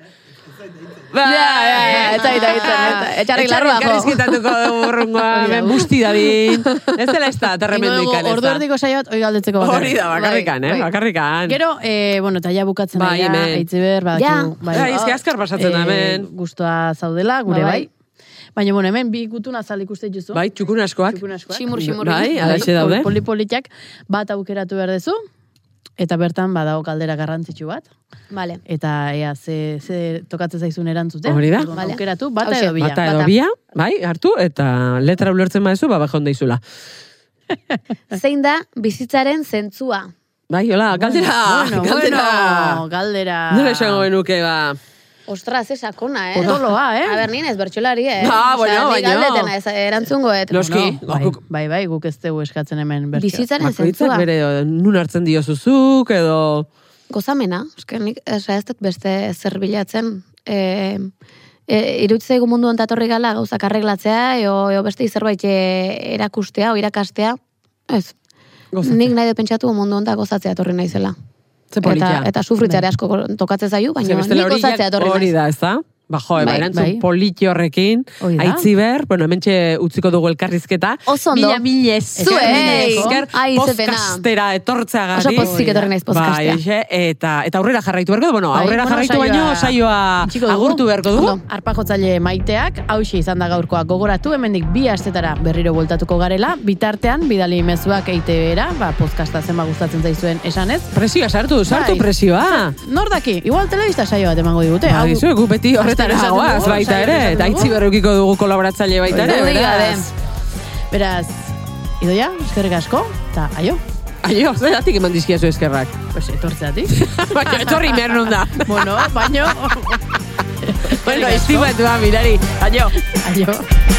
[SPEAKER 1] Ba,
[SPEAKER 3] Ja, ja, ja, ez dakit, ez dakit, ez dakit. Etxarri larrua, jo.
[SPEAKER 1] Elkarrizketatuko dugu
[SPEAKER 2] [laughs]
[SPEAKER 1] urrungoa, ben busti dadin. Ez dela ez da, terremendu
[SPEAKER 2] Egingo dugu
[SPEAKER 1] ikan ez
[SPEAKER 2] Ordu
[SPEAKER 1] da.
[SPEAKER 2] erdiko saio bat, oi galdetzeko bakarrik.
[SPEAKER 1] Hori da, bakarrikan, eh?
[SPEAKER 3] Bai, bai.
[SPEAKER 1] Bakarrikan.
[SPEAKER 2] Gero, eh, bueno, eta ja bukatzen
[SPEAKER 1] Bai,
[SPEAKER 2] ari gara,
[SPEAKER 1] hemen.
[SPEAKER 2] Eitziber,
[SPEAKER 3] Ja.
[SPEAKER 2] badakigu.
[SPEAKER 1] Bai, eske azkar pasatzen da, hemen.
[SPEAKER 2] Guztua zaudela, gure bai.
[SPEAKER 3] Ba, bai.
[SPEAKER 2] Baina, bueno, hemen bi gutun azal ikuste dituzu.
[SPEAKER 1] Bai, txukun askoak.
[SPEAKER 2] Txukun askoak.
[SPEAKER 3] Tximur, tximur.
[SPEAKER 1] Bai, alaxe daude.
[SPEAKER 2] Polipolitiak eh? bat aukeratu behar dezu, eta bertan badago galdera garrantzitsu bat,
[SPEAKER 3] Vale.
[SPEAKER 2] eta ea ze, ze tokatzen zaizun erantzutea.
[SPEAKER 1] Hori da.
[SPEAKER 2] Orduan
[SPEAKER 3] Bale.
[SPEAKER 2] Aukeratu, bata
[SPEAKER 3] Hauxe.
[SPEAKER 2] edo bila.
[SPEAKER 1] Bata edo
[SPEAKER 3] bata.
[SPEAKER 1] bia, bai, hartu, eta letra ulertzen baduzu, ba, bajon deizula.
[SPEAKER 3] Zein da bizitzaren zentzua?
[SPEAKER 1] Bai, hola, galdera, [laughs]
[SPEAKER 2] bueno,
[SPEAKER 1] galdera.
[SPEAKER 2] Bueno, galdera.
[SPEAKER 1] Nola esango genuke, ba.
[SPEAKER 3] Ostras, ez sakona, eh?
[SPEAKER 2] Potoloa, eh?
[SPEAKER 3] A ber, nien ez bertxolari, eh?
[SPEAKER 1] Ah, bueno,
[SPEAKER 3] Osea, ni
[SPEAKER 1] baino.
[SPEAKER 3] Galdetena ez eh, erantzungo, et.
[SPEAKER 1] Los- Noski,
[SPEAKER 2] bai,
[SPEAKER 1] guk-
[SPEAKER 2] bai, bai, guk ez dugu eskatzen hemen bertsioa.
[SPEAKER 3] Bizitzaren
[SPEAKER 1] Bakoitzak
[SPEAKER 3] zentzua.
[SPEAKER 1] bere, nun hartzen diozuzuk, edo...
[SPEAKER 3] Gozamena, eskenik, ez dut beste zer bilatzen. E, e, irutze egun mundu ontatorri gala gauzak arreglatzea, eo, eo beste zerbait eh, erakustea, o irakastea. Ez.
[SPEAKER 1] Gozatzea.
[SPEAKER 3] Nik nahi dut pentsatu mundu onta gozatzea etorri naizela.
[SPEAKER 1] Ze politia.
[SPEAKER 3] Eta, eta sufritzeare asko tokatzen zaiu,
[SPEAKER 1] Ze
[SPEAKER 3] baina
[SPEAKER 1] bestela
[SPEAKER 3] nik
[SPEAKER 1] hori
[SPEAKER 3] gozatzea
[SPEAKER 1] jak-
[SPEAKER 3] etorri
[SPEAKER 1] Hori
[SPEAKER 3] naiz.
[SPEAKER 1] da, ez da? Ba, jo, bai,
[SPEAKER 3] Bai,
[SPEAKER 1] erantzun
[SPEAKER 2] bai.
[SPEAKER 1] politi horrekin,
[SPEAKER 2] Hori da.
[SPEAKER 1] aitziber, bueno, hemen utziko dugu elkarrizketa.
[SPEAKER 3] Oso ondo.
[SPEAKER 1] Mila, mila esker,
[SPEAKER 3] Zuei.
[SPEAKER 1] mila esker,
[SPEAKER 3] Ai, ze pena.
[SPEAKER 1] podcastera etortzea gari.
[SPEAKER 3] Oso pozik etorri naiz podcastea.
[SPEAKER 1] Bai, exe, eta, eta aurrera jarraitu beharko, dugu, bueno,
[SPEAKER 2] Bai,
[SPEAKER 1] aurrera
[SPEAKER 2] bueno,
[SPEAKER 1] jarraitu
[SPEAKER 2] saioa-
[SPEAKER 1] baino,
[SPEAKER 2] itxiko
[SPEAKER 1] saioa
[SPEAKER 2] dugu.
[SPEAKER 1] agurtu beharko dugu.
[SPEAKER 3] Ondo.
[SPEAKER 2] Arpajotzaile maiteak, hauxe izan da gaurkoa gogoratu, hemendik bi astetara berriro bueltatuko garela, bitartean, bidali mezuak EITB-era, ba, podcasta zenba gustatzen zaizuen esanez.
[SPEAKER 1] Presioa sartu, sartu
[SPEAKER 2] Bai.
[SPEAKER 1] presioa.
[SPEAKER 2] Nor daki, igual telebista saio bat emango
[SPEAKER 3] Bai.
[SPEAKER 2] digute.
[SPEAKER 1] Ba, dizu, gu beti horretara
[SPEAKER 2] Astero esaten
[SPEAKER 1] goaz,
[SPEAKER 2] dugu,
[SPEAKER 1] baita
[SPEAKER 2] astero
[SPEAKER 1] ere,
[SPEAKER 2] esaten
[SPEAKER 1] eta
[SPEAKER 2] dugu.
[SPEAKER 1] aitziber edukiko dugu kolaboratzaile baita ere,
[SPEAKER 3] Hori da,
[SPEAKER 1] beraz.
[SPEAKER 2] Beraz, idoia, eskerrik asko, eta aio,
[SPEAKER 1] Aio, zeratik eman dizkiazu eskerrak. [laughs]
[SPEAKER 2] pues etortzeatik.
[SPEAKER 1] Baina, etorri mernun da. [laughs]
[SPEAKER 2] bueno, baino,
[SPEAKER 1] Bueno, iztibatua, mirari. Aio.
[SPEAKER 2] aio.